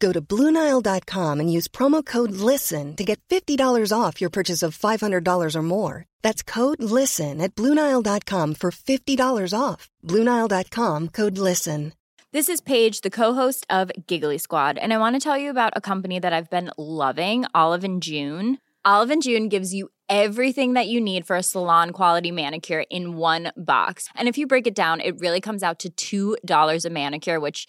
Go to BlueNile.com and use promo code LISTEN to get $50 off your purchase of $500 or more. That's code LISTEN at BlueNile.com for $50 off. BlueNile.com code LISTEN. This is Paige, the co-host of Giggly Squad, and I want to tell you about a company that I've been loving, Olive and June. Olive and June gives you everything that you need for a salon quality manicure in one box. And if you break it down, it really comes out to $2 a manicure, which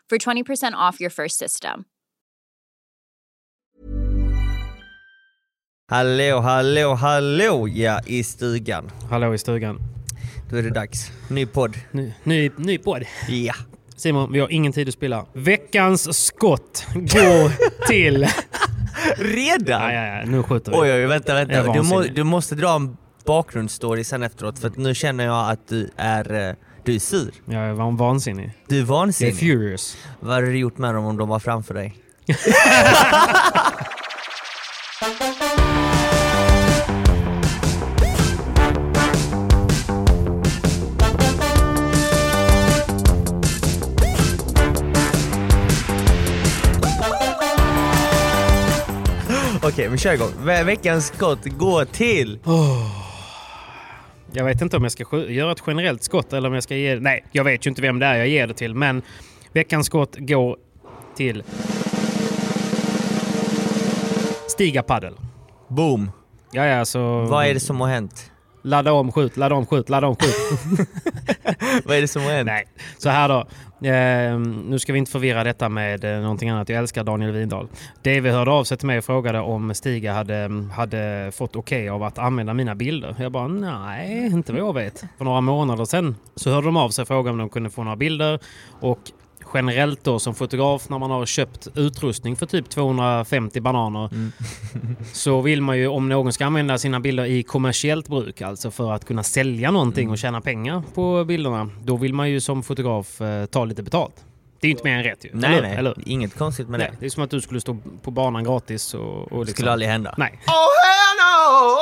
for 20% off your first system. Hallå, hallå, hallå ja, i stugan. Hallå i stugan. Då är det dags. Ny podd. Ny, ny, ny podd. Ja. Simon, vi har ingen tid att spilla. Veckans skott går till... Redan? Nej, nej, nej. Nu skjuter vi. Oj, oj, vänta, Jag är vänta. Du, må, vansinnig. du måste dra en bakgrundsstory sen efteråt för att nu känner jag att du är... eh, Du är sur. Jag är van- vansinnig. Du är Jag är vansinnig. furious. Vad hade du gjort med dem om de var framför dig? Okej, vi kör igång. Ve- Veckans skott går till... Jag vet inte om jag ska skj- göra ett generellt skott eller om jag ska ge... Nej, jag vet ju inte vem det är jag ger det till, men veckans skott går till... Stiga paddel. Boom! Ja, ja, så... Vad är det som har hänt? Ladda om, skjut, ladda om, skjut, ladda om, skjut. Vad är det som har hänt? Nej, så här då. Ehm, nu ska vi inte förvirra detta med eh, någonting annat. Jag älskar Daniel Windahl. DV hörde av sig till mig och frågade om Stiga hade, mm, hade fått okej av att använda mina bilder. Jag bara nej, inte vad jag vet. För några månader sedan så hörde de av sig och frågade om de kunde få några bilder. Och generellt då som fotograf när man har köpt utrustning för typ 250 bananer så vill man ju om någon ska använda sina bilder i kommersiellt bruk, alltså för att kunna sälja någonting Mm. och tjäna pengar på bilderna, då vill man ju som fotograf eh, ta lite betalt. Det är ju inte mer än rätt ju. Nej, eller, nej. Eller? Inget konstigt med nej. det. Det är som att du skulle stå på banan gratis och... och liksom. Det skulle aldrig hända. Nej. Oh, hell no!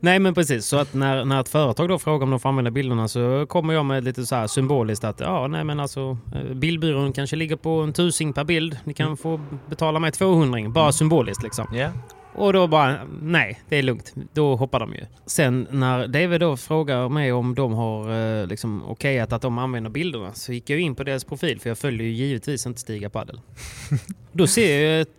Nej men precis, så att när, när ett företag då frågar om de får använda bilderna så kommer jag med lite så här symboliskt att ja nej men alltså eh, bildbyrån kanske ligger på en tusing per bild. Ni Mm. kan få betala mig 200 bara symboliskt liksom. Ja. Och då bara, nej, det är lugnt. Då hoppar de ju. Sen när David då frågar mig om de har eh, liksom, okejat att de använder bilderna så gick jag in på deras profil för jag följer ju givetvis inte Stiga Padel. Då ser jag t-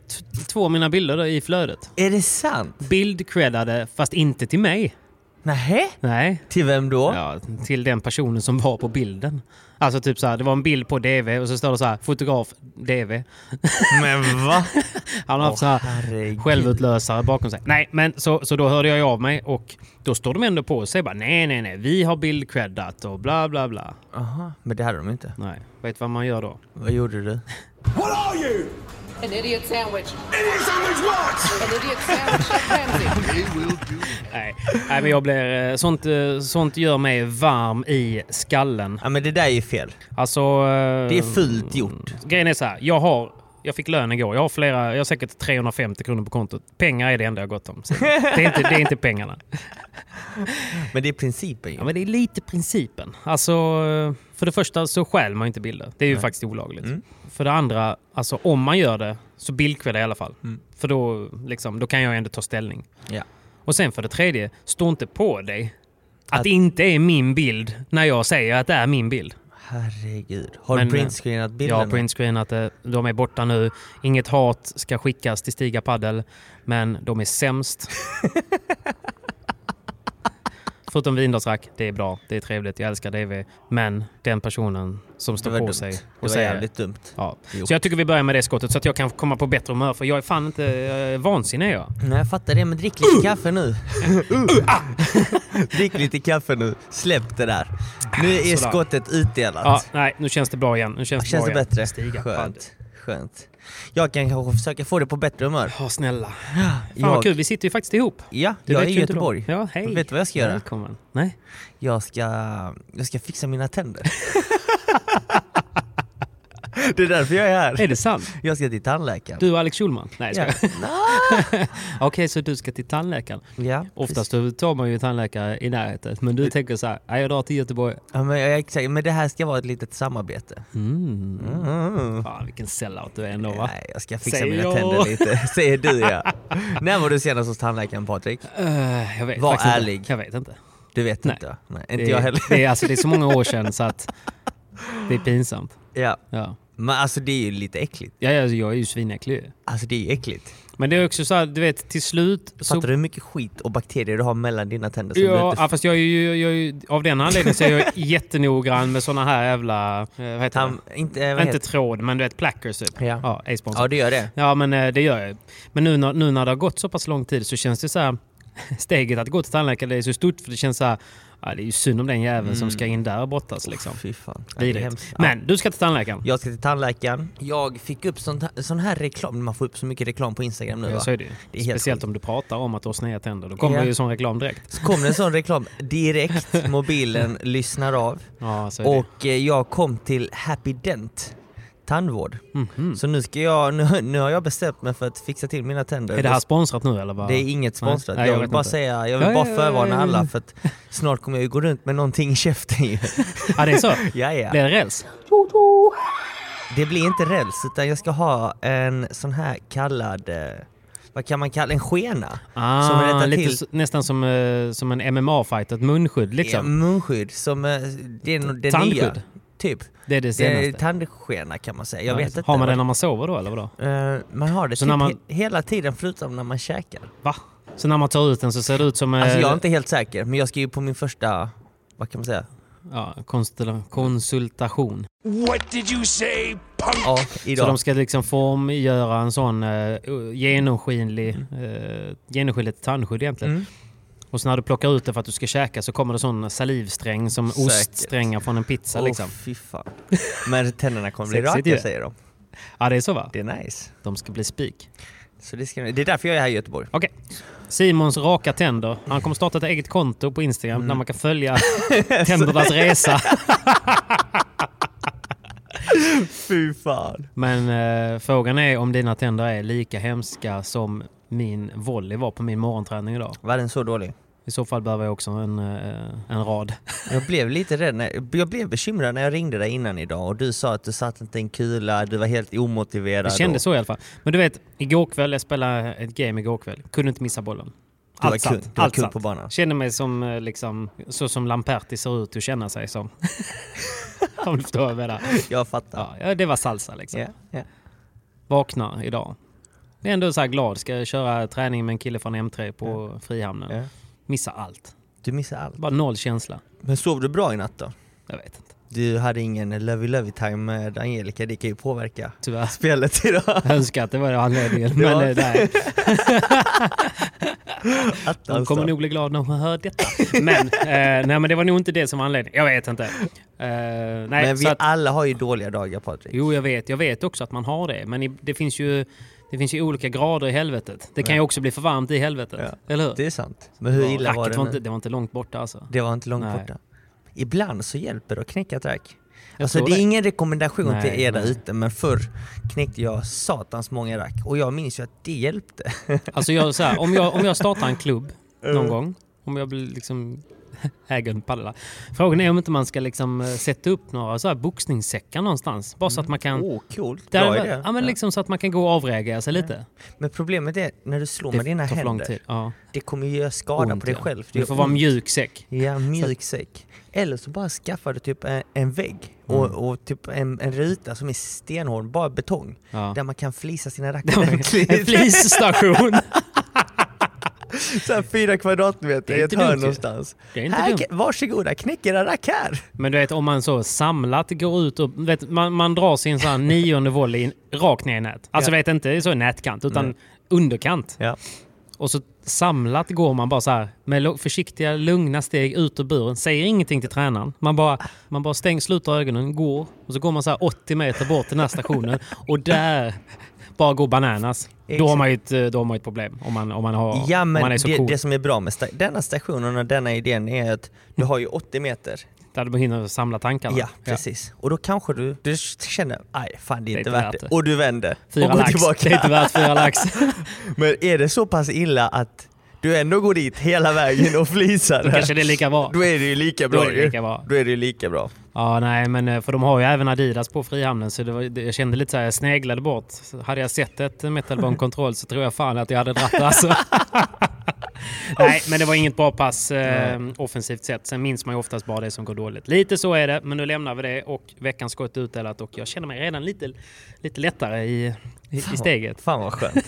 två av mina bilder där i flödet. Är det sant? Bildcreddade, fast inte till mig. Nähä? Nej. Till vem då? Ja, till den personen som var på bilden. Alltså typ så här, det var en bild på DV och så står det så här, fotograf DV. Men va? Han har haft så här herregud. självutlösare bakom sig. Nej, men så, så då hörde jag ju av mig och då står de ändå på sig bara nej, nej, nej, vi har bildcreddat och bla, bla, bla. Aha, men det hade de inte. Nej, vet vad man gör då? Vad gjorde du? What are you? An idiot sandwich. Idiot sandwich what? An idiot sandwich at Ramsey. They will do. Nej, Nej men jag blir... eh, Sånt, eh, sånt gör mig varm i skallen. Ja men det där är ju fel. Alltså... eh, Det är fult gjort. Grejen är så här, jag har... Jag fick lön igår. Jag har flera, jag har säkert 350 kronor på kontot. Pengar är det enda jag har gått om. Så Det är, inte, det är inte pengarna. Men det är principen ju. Ja, men det är lite principen. Alltså, för det första så stjäl man ju inte bilder. Det är ju faktiskt olagligt. För det andra, alltså om man gör det så bildkvälla i alla fall. För då, liksom, då kan jag ändå ta ställning. Ja. Och sen för det tredje, stå inte på dig att, Att- det inte är min bild när jag säger att det är min bild. Herregud. Har Men, eh, du printscreenat bilden? Jag har printscreenat det. De är borta nu. Inget hat ska skickas till Stiga Paddel, men de är sämst. Förutom Vindersrack, det är bra, det är trevligt, jag älskar DV. Men den personen som det står var på dumt. sig Det och var säger... jävligt dumt. Ja. Jo. Så jag tycker vi börjar med det skottet så att jag kan komma på bättre humör för jag är fan inte eh, vansinnig är jag. Nej jag fattar det men drick lite kaffe nu. drick lite kaffe nu. Släpp det där. Nu är Sådär. skottet utdelat. Ja, nej, nu känns det bra igen. Nu känns det, Känns det bra bättre? Igen. Stiga Paddel. Skönt. Skönt. Jag kan kanske försöka få det på bättre humör. Ja, snälla. Fan vad Jag, kul, vi sitter ju faktiskt ihop. ja, Det jag är vet i ju inte de. Göteborg. Ja, hej. Vet du vad jag ska göra? Välkommen. Nej. Jag ska, jag ska fixa mina tänder. det är därför jag är Är här. det sant? Jag ska till tandläkaren. Du och Alex Schulman? Nej, Ja. jag skojar. Okej, så du ska till tandläkaren. Ja, Oftast då tar man ju tandläkare i närheten, men du tänker så här, "Nej, jag drar till Göteborg. Ja, men, jag- exakt, men det här ska vara ett litet samarbete. Fan, vilken sellout du är ändå va? Nej, jag ska fixa Säger mina jag. tänder lite. Säger du ja. När var du senast hos tandläkaren Patrik? Eh, jag vet Var faktiskt ärlig. Inte. Jag vet inte. Du vet Nej. inte va? Nej, inte det, jag heller. Det är, alltså, det är så många år sedan så att det är pinsamt. Ja. Ja. Men alltså det är ju lite äckligt. Ja, alltså, jag är ju svinäcklig. Alltså det är ju äckligt. Men det är också så här, du vet, till slut så... Fattar du hur mycket skit och bakterier du har mellan dina tänder? som du Ja, inte... ja, fast jag är ju, jag är ju, av den anledningen så är jag jättenoggrann med såna här jävla... eh, Vad heter Tam... Inte, eh, det? vad Inte heter... tråd, men du vet plackers typ. Ja. Ja, är sponsor. ja, du gör det. Ja, men eh, det gör jag. Men nu när, nu när det har gått så pass lång tid så känns det så här... Steget att gå till tandläkaren det är så stort för det känns så här... Ja, det är ju synd om den jäveln som ska in där och brottas liksom. Mm. Fy fan. Ja, det är Vidrigt. hemskt. Ja. Men du ska till tandläkaren. Jag ska till tandläkaren. Jag fick upp sånt här, sån här reklam. Man får upp så mycket reklam på Instagram nu Ja, va? så är det ju. Det är helt Speciellt om du pratar om att du har sneda tänder. Då kommer Ja. det ju sån reklam direkt. Så kom det en sån reklam direkt. Mobilen lyssnar av. Ja, så är det. Och eh, jag kom till Happy Dent tandvård. Mhm. Så nu, ska jag, nu, nu har jag bestämt mig för att fixa till mina tänder. Är det här sponsrat nu eller? Vad? Det är inget sponsrat. Nej, jag jag, vill vet bara inte. säga, jag vill Ja, bara ja, ja, förvarna ja, ja. alla för att snart kommer jag ju gå runt med någonting i käften ju. Ja, det är så? ja, Blir ja. det räls? Det blir inte räls utan jag ska ha en sån här kallad, eh, vad kan man kalla en skena? som Ah, rättar lite till så- nästan som, eh, som en MMA-fight, ett munskydd liksom. eh, munskydd som eh, det är nog det Tandskydd? nya. Typ. Det är det Det är senaste. tandskena kan man säga. Jag vet Alltså, inte. Har man vad- den när man sover då eller vadå? Eh, man har det Så typ när man- Eh, he- hela tiden förutom när man käkar. Va? Så när man tar ut den så ser det ut som... eh, Alltså jag är inte helt säker, men jag ska ju på min första, vad kan man säga? ja, konstella- konsultation. What did you say, punk? Ja, Så idag. de ska liksom formgöra en sån eh, genomskinlig, eh, genomskinligt tandskydd egentligen. Mm. Och så när du plockar ut det för att du ska käka så kommer det sån salivsträng som Säkert. oststrängar från en pizza Åh, liksom. fy fan. Men tänderna kommer bli Sexigt raka ju. säger de. Ja, det är så va? Det är nice. De ska bli spik. Så det, ska, det är därför jag är här i Göteborg. Okej. Simons raka tänder. Han kommer starta ett eget konto på Instagram Mm. där man kan följa tändernas resa. Fy fan. Men eh, frågan är om dina tänder är lika hemska som min volley var på min morgonträning idag. Var den så dålig? I så fall behöver jag också en, eh, en rad. Jag blev lite rädd, när, jag blev bekymrad när jag ringde dig innan idag och du sa att du satt inte en kula, du var helt omotiverad. Det kändes och, så i alla fall. Men du vet, igår kväll, jag spelade ett game igår kväll. Kunde inte missa bollen. Du var Allt kung. satt. Du var Allt kung satt. på banan. Kände mig som, eh, liksom, så som Lamperti ser ut att känna sig som. Om du förstår vad jag menar. Jag fattar. Ja, ja, det var salsa liksom. Ja, ja. Vaknar idag. Jag är ändå så här glad. Ska köra träning med en kille från M3 på Frihamnen. Ja. Missa allt. Du missade allt. Bara noll känsla. Men sov du bra i natt då? Jag vet inte. Du du hade ingen lovey-lovey time med Angelica, det kan ju påverka Tyvärr. spelet idag. Jag önskar att det var anledningen, men Ja. eh, nej. Attans De kommer då. nog bli glada när de hör detta. Men, eh, nej, men det var nog inte det som var anledningen. Jag vet inte. Eh, nej, Men vi så att, alla har ju dåliga dagar Patrik. jo, jag vet. Jag vet också att man har det. Men i, det, finns ju, det finns ju olika grader i helvetet. Det kan ju också bli för varmt i helvetet. Ja. Eller hur? Det är sant. Men hur illa var Racket det? var nu? inte, det var inte långt borta alltså. Det var inte långt Nej. borta. Ibland så hjälper det att knäcka ett rack. Jag Alltså tror det är det. ingen rekommendation till Nej, er där nej. ute men förr knäckte jag satans många rack och jag minns ju att det hjälpte. Alltså jag, så här, om, jag, om jag startar en klubb någon gång, om jag blir liksom äger en padel. Frågan är om inte man ska liksom eh, sätta upp några så här boxningssäckar någonstans. Bara så att man kan... Åh, coolt. Mm. Där- Mm. Oh, Bra idé. ja, men liksom så att man kan gå och avreagera sig lite. Men problemet är när du slår med dina tar för lång tid. händer, Ja. det kommer ju göra skada Ont, på dig ja. själv. Det gör får vara ont. mjuk säck. Ja, mjuk säck. Eller så bara skaffar du typ en, en vägg Mm. och, och typ en, en ruta som är stenhård, bara betong. Ja. Där man kan flisa sina rack En ordentligt. flisstation. Så här fyra kvadratmeter Det är i ett inte hörn dumt ju. någonstans. Det är inte här, dumt. kan- varsågoda, knäck era rack här! Men du vet om man så samlat går ut och vet, man, man drar sin så här nionde volley in- rakt ner i nät. Alltså vet inte så i nätkant utan underkant. Ja. Och så samlat går man bara så här med lo- försiktiga lugna steg ut ur buren. Säger ingenting till tränaren. Man bara, man bara stänger, sluter ögonen, går och så går man så här 80 meter bort till den här stationen och där bara går bananas. Då har man ju ett, eh, då har man ju ett problem om man, om man, har, Ja om man men är så det, cool. det som är bra med sta- denna stationen och denna idén är att du har ju 80 meter. Där du hinner samla tankarna. Ja precis. Och då kanske du, du känner aj fan det är inte värt det. det. Och du vänder Fyra och går lax. Det är inte tillbaka. värt fyra lax. Men är det så pass illa att du ändå går dit hela vägen och flisar? Då kanske det är lika bra. Då är det ju lika bra Då är det ju. lika bra. Då är det ju lika bra. Ja, nej, men eh, för de har ju även Adidas på Frihamnen så det var, det- jag kände lite så här, jag sneglade bort. Så Hade jag sett ett metalbone control så tror jag fan att jag hade dratt det, alltså. Nej, men det var inget bra pass eh, offensivt sett. Sen minns man ju oftast bara det som går dåligt. Lite så är det, men nu lämnar vi det och veckans skott är utdelat och jag känner mig redan lite, lite lättare i, i, i steget. Fan vad skönt.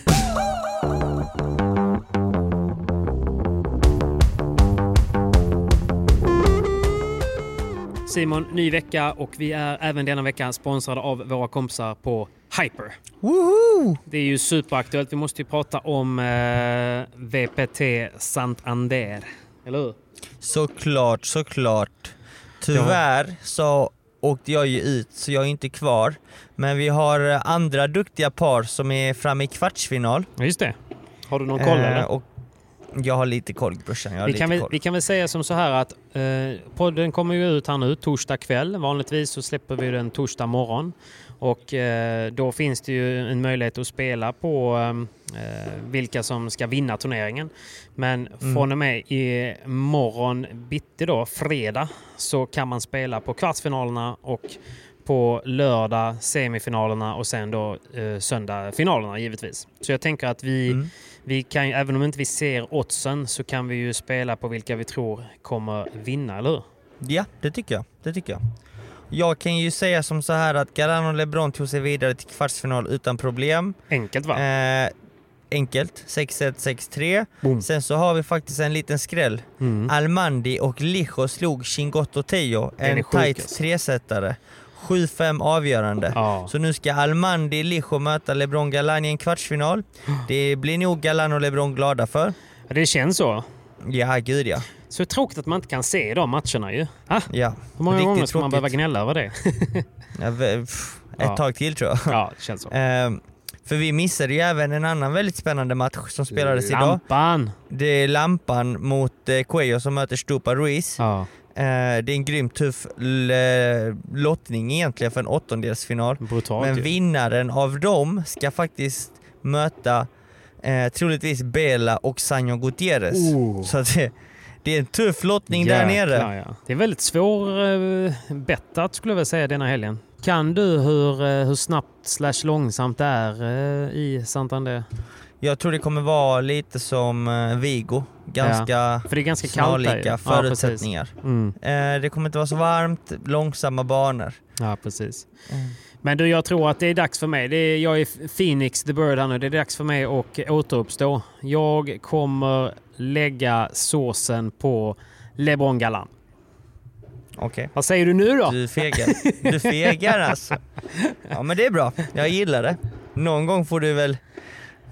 Simon, ny vecka och vi är även denna vecka sponsrade av våra kompisar på Hyper. Woho! Det är ju superaktuellt. Vi måste ju prata om eh, VPT Santander. Eller hur? Såklart, såklart. Tyvärr så åkte jag ju ut så jag är inte kvar. Men vi har eh, andra duktiga par som är framme i kvartsfinal. Ja, just det. Har du någon koll Eh, eller? och jag har lite koll brorsan, jag har Vi lite kan, väl, koll. vi kan väl säga som så här att eh, podden kommer ju ut här nu torsdag kväll. Vanligtvis så släpper vi den torsdag morgon. Och eh, då finns det ju en möjlighet att spela på eh, eh, vilka som ska vinna turneringen. Men Mm. från och med i morgon bitti då, fredag, så kan man spela på kvartsfinalerna och på lördag semifinalerna och sen då eh, söndag finalerna givetvis. Så jag tänker att vi, Mm. vi kan ju, även om inte vi ser oddsen så kan vi ju spela på vilka vi tror kommer vinna, eller hur? Ja, det tycker jag. Det tycker jag. Jag kan ju säga som så här att Garano och LeBron tog sig vidare till kvartsfinal utan problem. Enkelt va? Eh, enkelt, 6-1, 6-3. Boom. Sen så har vi faktiskt en liten skräll. Almandi och Lijo slog Chingotto Teo, Den är en sjuk, tight alltså. tresetare. 7-5 avgörande. Ja. Så nu ska Almandi Lijo möta LeBron Galan i en kvartsfinal. Det blir nog Galan och LeBron glada för. Det känns så. Ja, gud ja. Så tråkigt att man inte kan se de matcherna ju. Ah, ja. hur många Riktigt gånger ska tråkigt. man behöva gnälla över det? Ja, v- pff, ett Ja. tag till tror jag. ja, det känns så. Ehm, för vi missade ju även en annan väldigt spännande match som spelades idag. Lampan! Det är Lampan mot eh, Cuello som möter Stupa Ruiz. Ja, Eh, det är en grymt tuff l- eh, lottning egentligen för en åttondelsfinal. brutalt Men ju. vinnaren av dem ska faktiskt möta eh, troligtvis Bela och Sanjo Gutierrez. Oh. Så att det, det är en tuff lottning där Jäklar, nere. Ja. Det är väldigt svårbettat skulle jag vilja säga denna helgen. Kan du hur, eh, hur snabbt slash långsamt det är eh, i Santander? Jag tror det kommer vara lite som eh, Vigo. Ganska För det är ganska kallt där ju. snarlika förutsättningar. Ja, precis. Mm. eh, det kommer inte vara så varmt, långsamma banor. Ja, precis. Mm. Men du, jag tror att det är dags för mig. Det är, jag är Phoenix the Bird här nu. Det är dags för mig att återuppstå. Jag kommer lägga såsen på LeBron Galan. Okej. Vad säger du nu då? Du fegar. Du fegar alltså. Ja men det är bra. Jag gillar det. Någon gång får du väl...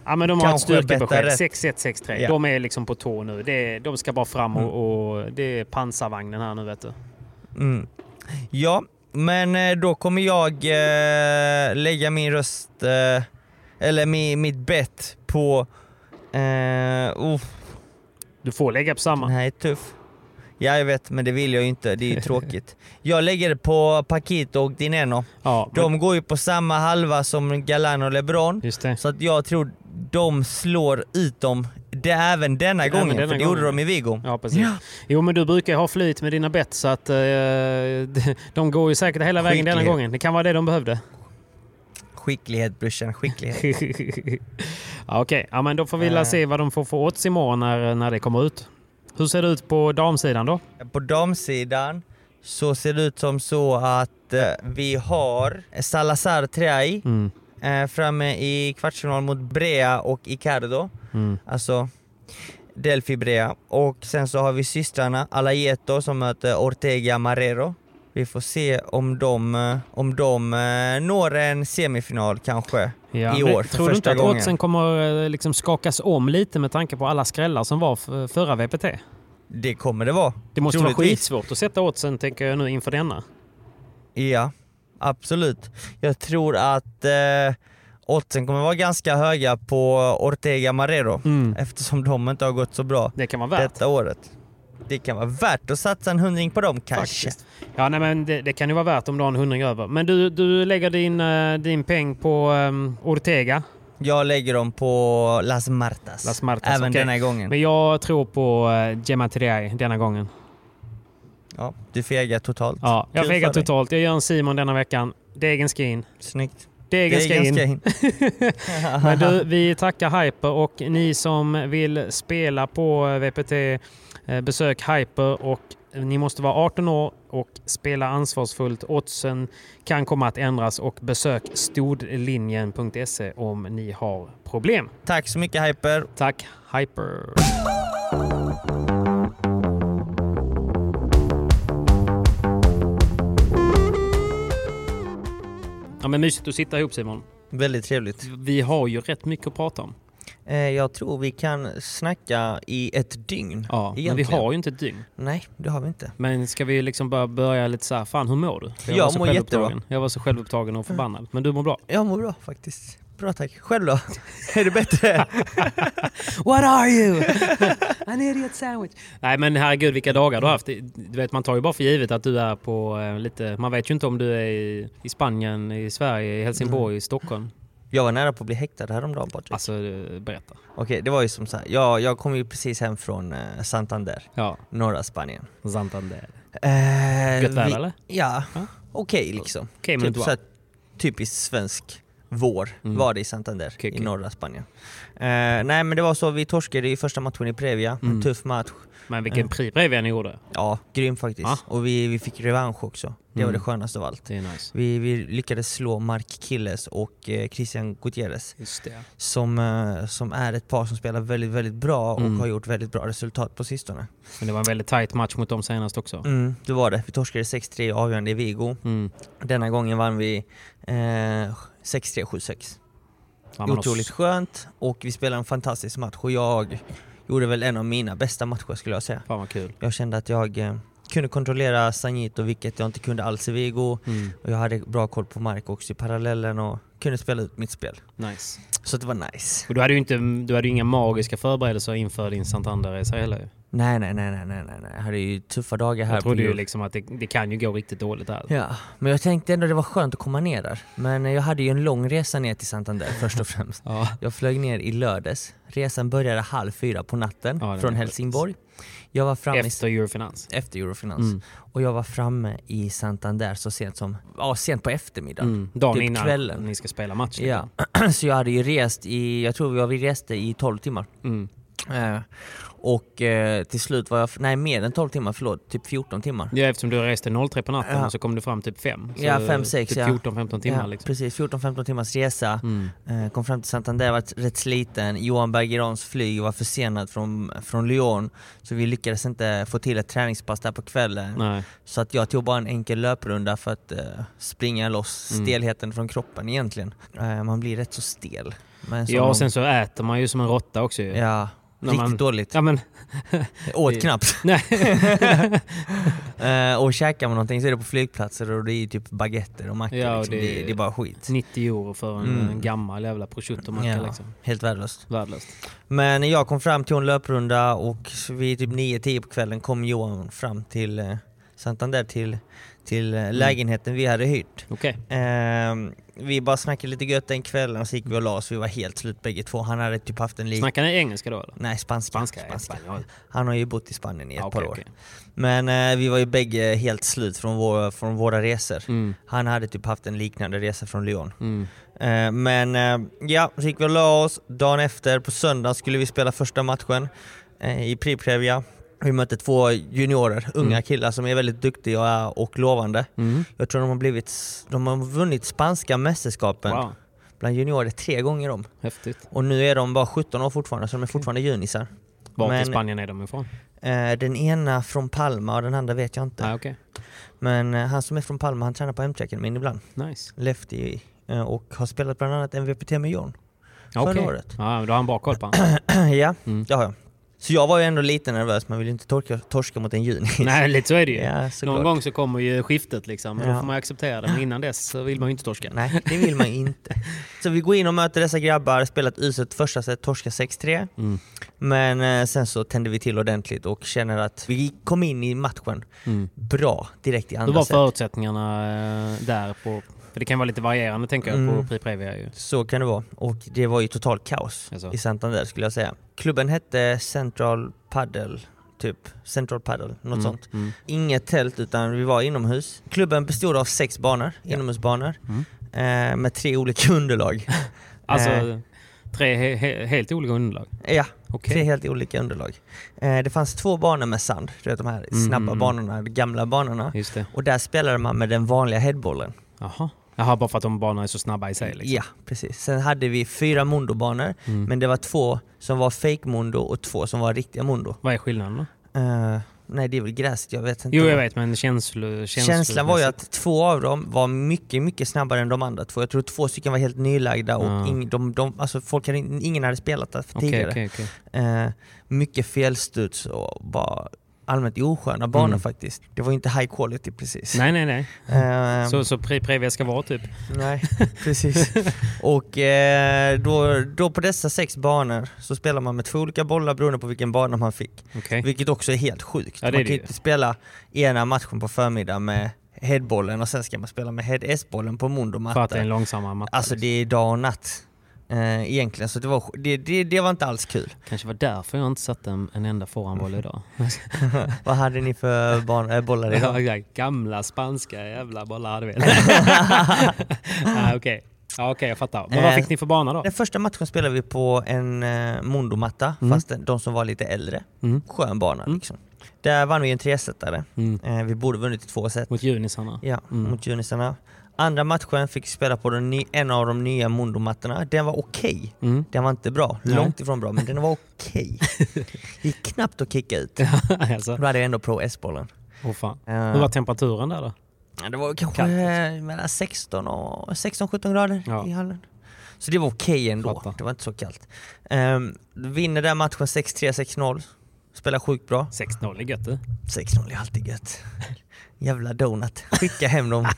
Ja, men de har ett Kanske bättre styrkebesked. rätt. 6163. Ja. De är liksom på tå nu. Det, de ska bara fram och, och det är pansarvagnen här nu vet du. Mm. Ja, men eh, då kommer jag eh, lägga min röst, eh, eller mi, mitt bett på... Eh, oh, Du får lägga på den samma. här är tuff. Ja, jag vet, men det vill jag ju inte. Det är ju tråkigt. Jag lägger det på Paquito och Dineno. Ja, men- De går ju på samma halva som Galan och LeBron. just det. Så att jag tror de slår ut dem det, även denna Även gången, denna för det gjorde gången. de i Vigo. Ja, precis. Jo, men du brukar ju ha flyt med dina bett så att eh, de- de går ju säkert hela vägen denna Skicklighet. gången. Det kan vara det de behövde. Skicklighet brorsan, skicklighet. ja, Okej, ja, men då får vi la Eh. se vad de får för odds imorgon när, när det kommer ut. Hur ser det ut på damsidan då? På damsidan så ser det ut som så att eh, vi har Salazar Triay Mm. eh, framme i kvartsfinal mot Brea och Icardo. Mm. Alltså Delphi Brea. Och sen så har vi systrarna Alayeto som möter Ortega Marrero. Vi får se om de, eh, om de eh, når en semifinal kanske Ja, i men år för Tror du inte första att gången. oddsen kommer eh, liksom skakas om lite med tanke på alla skrällar som var f- förra VPT? Det kommer det vara. Det måste vara troligtvis. skitsvårt att sätta oddsen tänker jag nu inför denna. Ja, absolut. Jag tror att eh, oddsen kommer vara ganska höga på Ortega Marrero eftersom de inte har gått så bra Mm. Det kan vara värt. detta året. Det kan vara värt att satsa en hundring på dem kanske. Faktiskt. Ja, nej, men det, det kan ju vara värt om du har en hundring över. Men du, du lägger din, eh, din peng på ehm, Ortega, Jag lägger dem på Las Martas, Las Martas. även okej. denna gången. Men jag tror på eh, Gemma Triay denna gången. Ja, du fegar totalt. Ja, jag Kul fegar för dig. totalt. Jag gör en Simon denna veckan. Degen ska in. Snyggt. Degen ska in. Men du, vi tackar Hyper och ni som vill spela på VPT eh, besök Hyper och ni måste vara 18 år och spela ansvarsfullt. Oddsen kan komma att ändras och besök stodlinjen.se E om ni har problem. Tack så mycket Hyper. Tack Hyper! Ja, men mysigt att sitta ihop Simon. Väldigt trevligt. Vi har ju rätt mycket att prata om. Eh, jag tror vi kan snacka i ett dygn. Ja, men vi egentligen. har ju inte ett dygn. Nej, det har vi inte. Men ska vi liksom bara börja lite så här, fan hur mår du? För Jag var så mår jättebra. självupptagen. Jag var så självupptagen och förbannad. Men du mår bra. Jag mår bra faktiskt. Bra tack. Själv då? Är det bättre? What are you? An idiot sandwich. Nej men herregud vilka dagar du har haft. Du vet man tar ju bara för givet att du är på eh, lite, man vet ju inte om du är i, i Spanien, i Sverige, i Helsingborg, i Stockholm. Jag var nära på att bli häktad häromdagen Patrik. Alltså eh, berätta. Okej, det var ju som så här. Jag, jag kom ju precis hem från eh, Santander, Ja, norra Spanien. Santander. Eh, Gött väder vi- eller? Ja, Ja. okej liksom. Okej men typ du så här, typiskt svensk vår Mm. var det i Santander Okej, i okej. norra Spanien. Eh, nej men det var så, vi torskade i första matchen i Previa, en Mm. tuff match. Men vilken pri brev ni gjorde. Ja, grym faktiskt. Ja. Och vi, vi fick revansch också. Det var Mm. det skönaste av allt. Det är nice. Vi, vi lyckades slå Mark Killes och eh, Christian Gutierrez Just det. som, eh, som är ett par som spelar väldigt, väldigt bra och Mm. har gjort väldigt bra resultat på sistone. Men det var en väldigt tight match mot dem senast också. Mm, det var det. Vi torskade 6-3 i avgörande i Vigo. Mm. Denna gången vann vi eh, 6-3, 7-6. Fan, man har Otroligt skönt och vi spelade en fantastisk match och jag gjorde väl en av mina bästa matcher skulle jag säga. Fan vad kul. Jag kände att jag eh, kunde kontrollera Sanjito vilket jag inte kunde alls i Vigo. Mm. Och jag hade bra koll på Mark också i parallellen och kunde spela ut mitt spel. Nice. Så det var nice. Och du hade ju, inte, du hade ju inga magiska förberedelser inför din Santander-resa heller. ju. Nej, nej, nej, nej, nej, nej, nej. Jag hade ju tuffa dagar här Jag trodde ju jul. liksom att det, det kan ju gå riktigt dåligt där. Ja, men jag tänkte ändå det var skönt att komma ner där. Men jag hade ju en lång resa ner till Santander först och främst. Ja. Jag flög ner i lördags. Resan började halv fyra på natten Ja, det från var- Helsingborg. Jag var framme efter, Efter Eurofinans. efter Eurofinans. Mm. Och jag var framme i Santander så sent som, ja sent på eftermiddagen. Mm. Dagen Typ innan kvällen. ni ska spela match. typ. Ja. Så jag hade ju rest i, jag tror vi reste i 12 timmar. Mm. Eh, Och eh, till slut var jag, nej mer än 12 timmar, förlåt, typ 14 timmar. Ja, eftersom du reste 03 på natten Ja. och så kom du fram typ 5. Ja, fem, sex, typ ja. 14-15 timmar Ja, liksom. Precis, 14-15 timmars resa. Mm. Eh, Kom fram till Santander, var rätt sliten. Johan Bergerons flyg var försenat från, från Lyon. Så vi lyckades inte få till ett träningspass där på kvällen. Nej. Så att jag tog bara en enkel löprunda för att eh, springa loss Mm. stelheten från kroppen egentligen. Eh, man blir rätt så stel. Men så Ja, man- och sen så äter man ju som en råtta också ju. Alltså, Ja, När riktigt man- dåligt. Ja, men Jag åt knappt. nej. Eh, och käkar man någonting så är det på flygplatser och det är ju typ baguetter och mackor. Ja, och liksom. det- det... Det, är bara skit. 90 euro för en, Mm. en gammal jävla prosciuttomacka Ja, liksom. Helt värdelöst. Värdelöst. Men jag kom fram till en löprunda och vid typ 9-10 på kvällen kom Johan fram till eh, Santander till, till Mm. eh, lägenheten vi hade hyrt. Okej. Ehm, vi bara snackade lite gött den kvällen och så gick vi och la oss. Vi var helt slut bägge två. Han hade typ haft en lik... Snackar ni engelska då eller? Nej, spanska. Spanska? Spanska. Han har ju bott i Spanien i ett Ja, par Ah, okej, år. okej. Men eh, vi var ju bägge helt slut från, vår, från våra resor. Mm. Han hade typ haft en liknande resa från Lyon. Mm. Eh, Men eh, ja, så gick vi och la oss. Dagen efter, på söndag skulle vi spela första matchen eh, i Priprevia. Vi mötte två juniorer, unga killar som är väldigt duktiga och lovande. Mm. Jag tror de har blivit, de har vunnit spanska mästerskapen Wow, bland juniorer tre gånger om. häftigt. Och nu är de bara 17 år fortfarande, så de är fortfarande junisar. Vart i Men- Spanien är de ifrån? Eh, Den ena från Palma och den andra vet jag inte. Nej, okej. Men eh, han som är från Palma, han tränar på MC Akademin ibland. Nice. Lefty. eh, Och har spelat bland annat MVP med John. Förra Okej. Mm. året. Ja, men då har han bra koll på honom. ja, det har jag. Så jag var ju ändå lite nervös, man vill ju inte torka, torska mot en junis. Nej, lite så är det ju. Ja, Någon såklart. gång så kommer ju skiftet liksom. men Då Ja. får man ju acceptera det. Men innan dess så vill man ju inte torska. Nej, det vill man ju inte. Så vi går in och möter dessa grabbar, spelar ett uselt första set, torskar 6-3. Mm. Men eh, sen så tände vi till ordentligt och känner att vi kom in i matchen Mm. bra direkt i Då andra var set. förutsättningarna eh, där på... För det kan vara lite varierande tänker jag på Mm. Pri Previa ju. Så kan det vara. Och det var ju totalt kaos Alltså. i Santander skulle jag säga. Klubben hette Central Paddle, typ. Central Paddle, något sånt. Mm. Inget tält utan vi var inomhus. Klubben bestod av sex banor, inomhusbanor, eh, med tre olika underlag. Mm. Alltså Eh, tre he he helt olika underlag. ja, Okej. tre helt olika underlag. Eh, det fanns två banor med sand, du vet de här snabba banorna, de gamla banorna. Mm. Just det. Och där spelade man med den vanliga headbollen. Jaha. Jaha, bara för att de banorna är så snabba i sig liksom. Mm. Ja, precis. Sen hade vi fyra mondobanor, men det var två som var fake mondo och två som var riktiga mondo. Vad är skillnaden då? Eh, nej, det är väl gräset, jag vet inte. Jo, jag vet, men känslo... Känslan var ju att två av dem var mycket, mycket snabbare än de andra två. Jag tror två stycken var helt nylagda och Ah. ing, de, de, alltså folk hade, in- ingen hade spelat där Okej, tidigare. okej, okej. Eh, mycket felstuds och bara allmänt osköna banor Mm. faktiskt. Det var ju inte high quality precis. Nej, nej, nej. Eh, Så, så Pri Previa ska vara typ? Nej, precis. Och eh, då, då på dessa sex banor så spelar man med två olika bollar beroende på vilken bana man fick. Okej. Vilket också är helt sjukt. Eh. Ja, det man är det kan ju ju. inte spela ena matchen på förmiddagen med headbollen och sen ska man spela med head S-bollen på För att det är mondomatta. en långsammare liksom. matta. Alltså det är dag och natt eh, egentligen, så det var, det, det, det var inte alls kul. Kanske var därför jag inte satte en, en enda forehandboll idag. Vad hade ni för barn, eh, bollar idag? Ja, exakt. Gamla spanska jävla bollar hade vi. Nej, okej. Ja, okej, jag fattar. Men vad Eh, fick ni för bana då? Den första matchen spelade vi på en eh, mondomatta, fast den- de som var lite äldre. Mm. Skön bana liksom. Där vann vi en tresetare. Mm. Eh, vi borde vunnit i två set. Mot junisarna? Ja, mot Junisarna. Andra matchen fick vi spela på den ny, en av de nya mondomattorna. Den var okej. Mm. Den var inte bra. Nej. Långt ifrån bra, men den var okej. gick knappt att kicka ut. alltså, Då hade jag ändå Pro S-bollen. åh fan. Eh. Hur var temperaturen där då? Ja, Det var kanske Kallt. eh, mellan 16 och 16-17 grader Ja. i hallen. Så det var okej ändå. Fattar. Det var inte så kallt. Ehm, vinner den matchen 6-3, 6-0. Spelar sjukt bra. 6-0 är gött du. 6-0 är alltid gött. Jävla donut. Skicka hem de Fick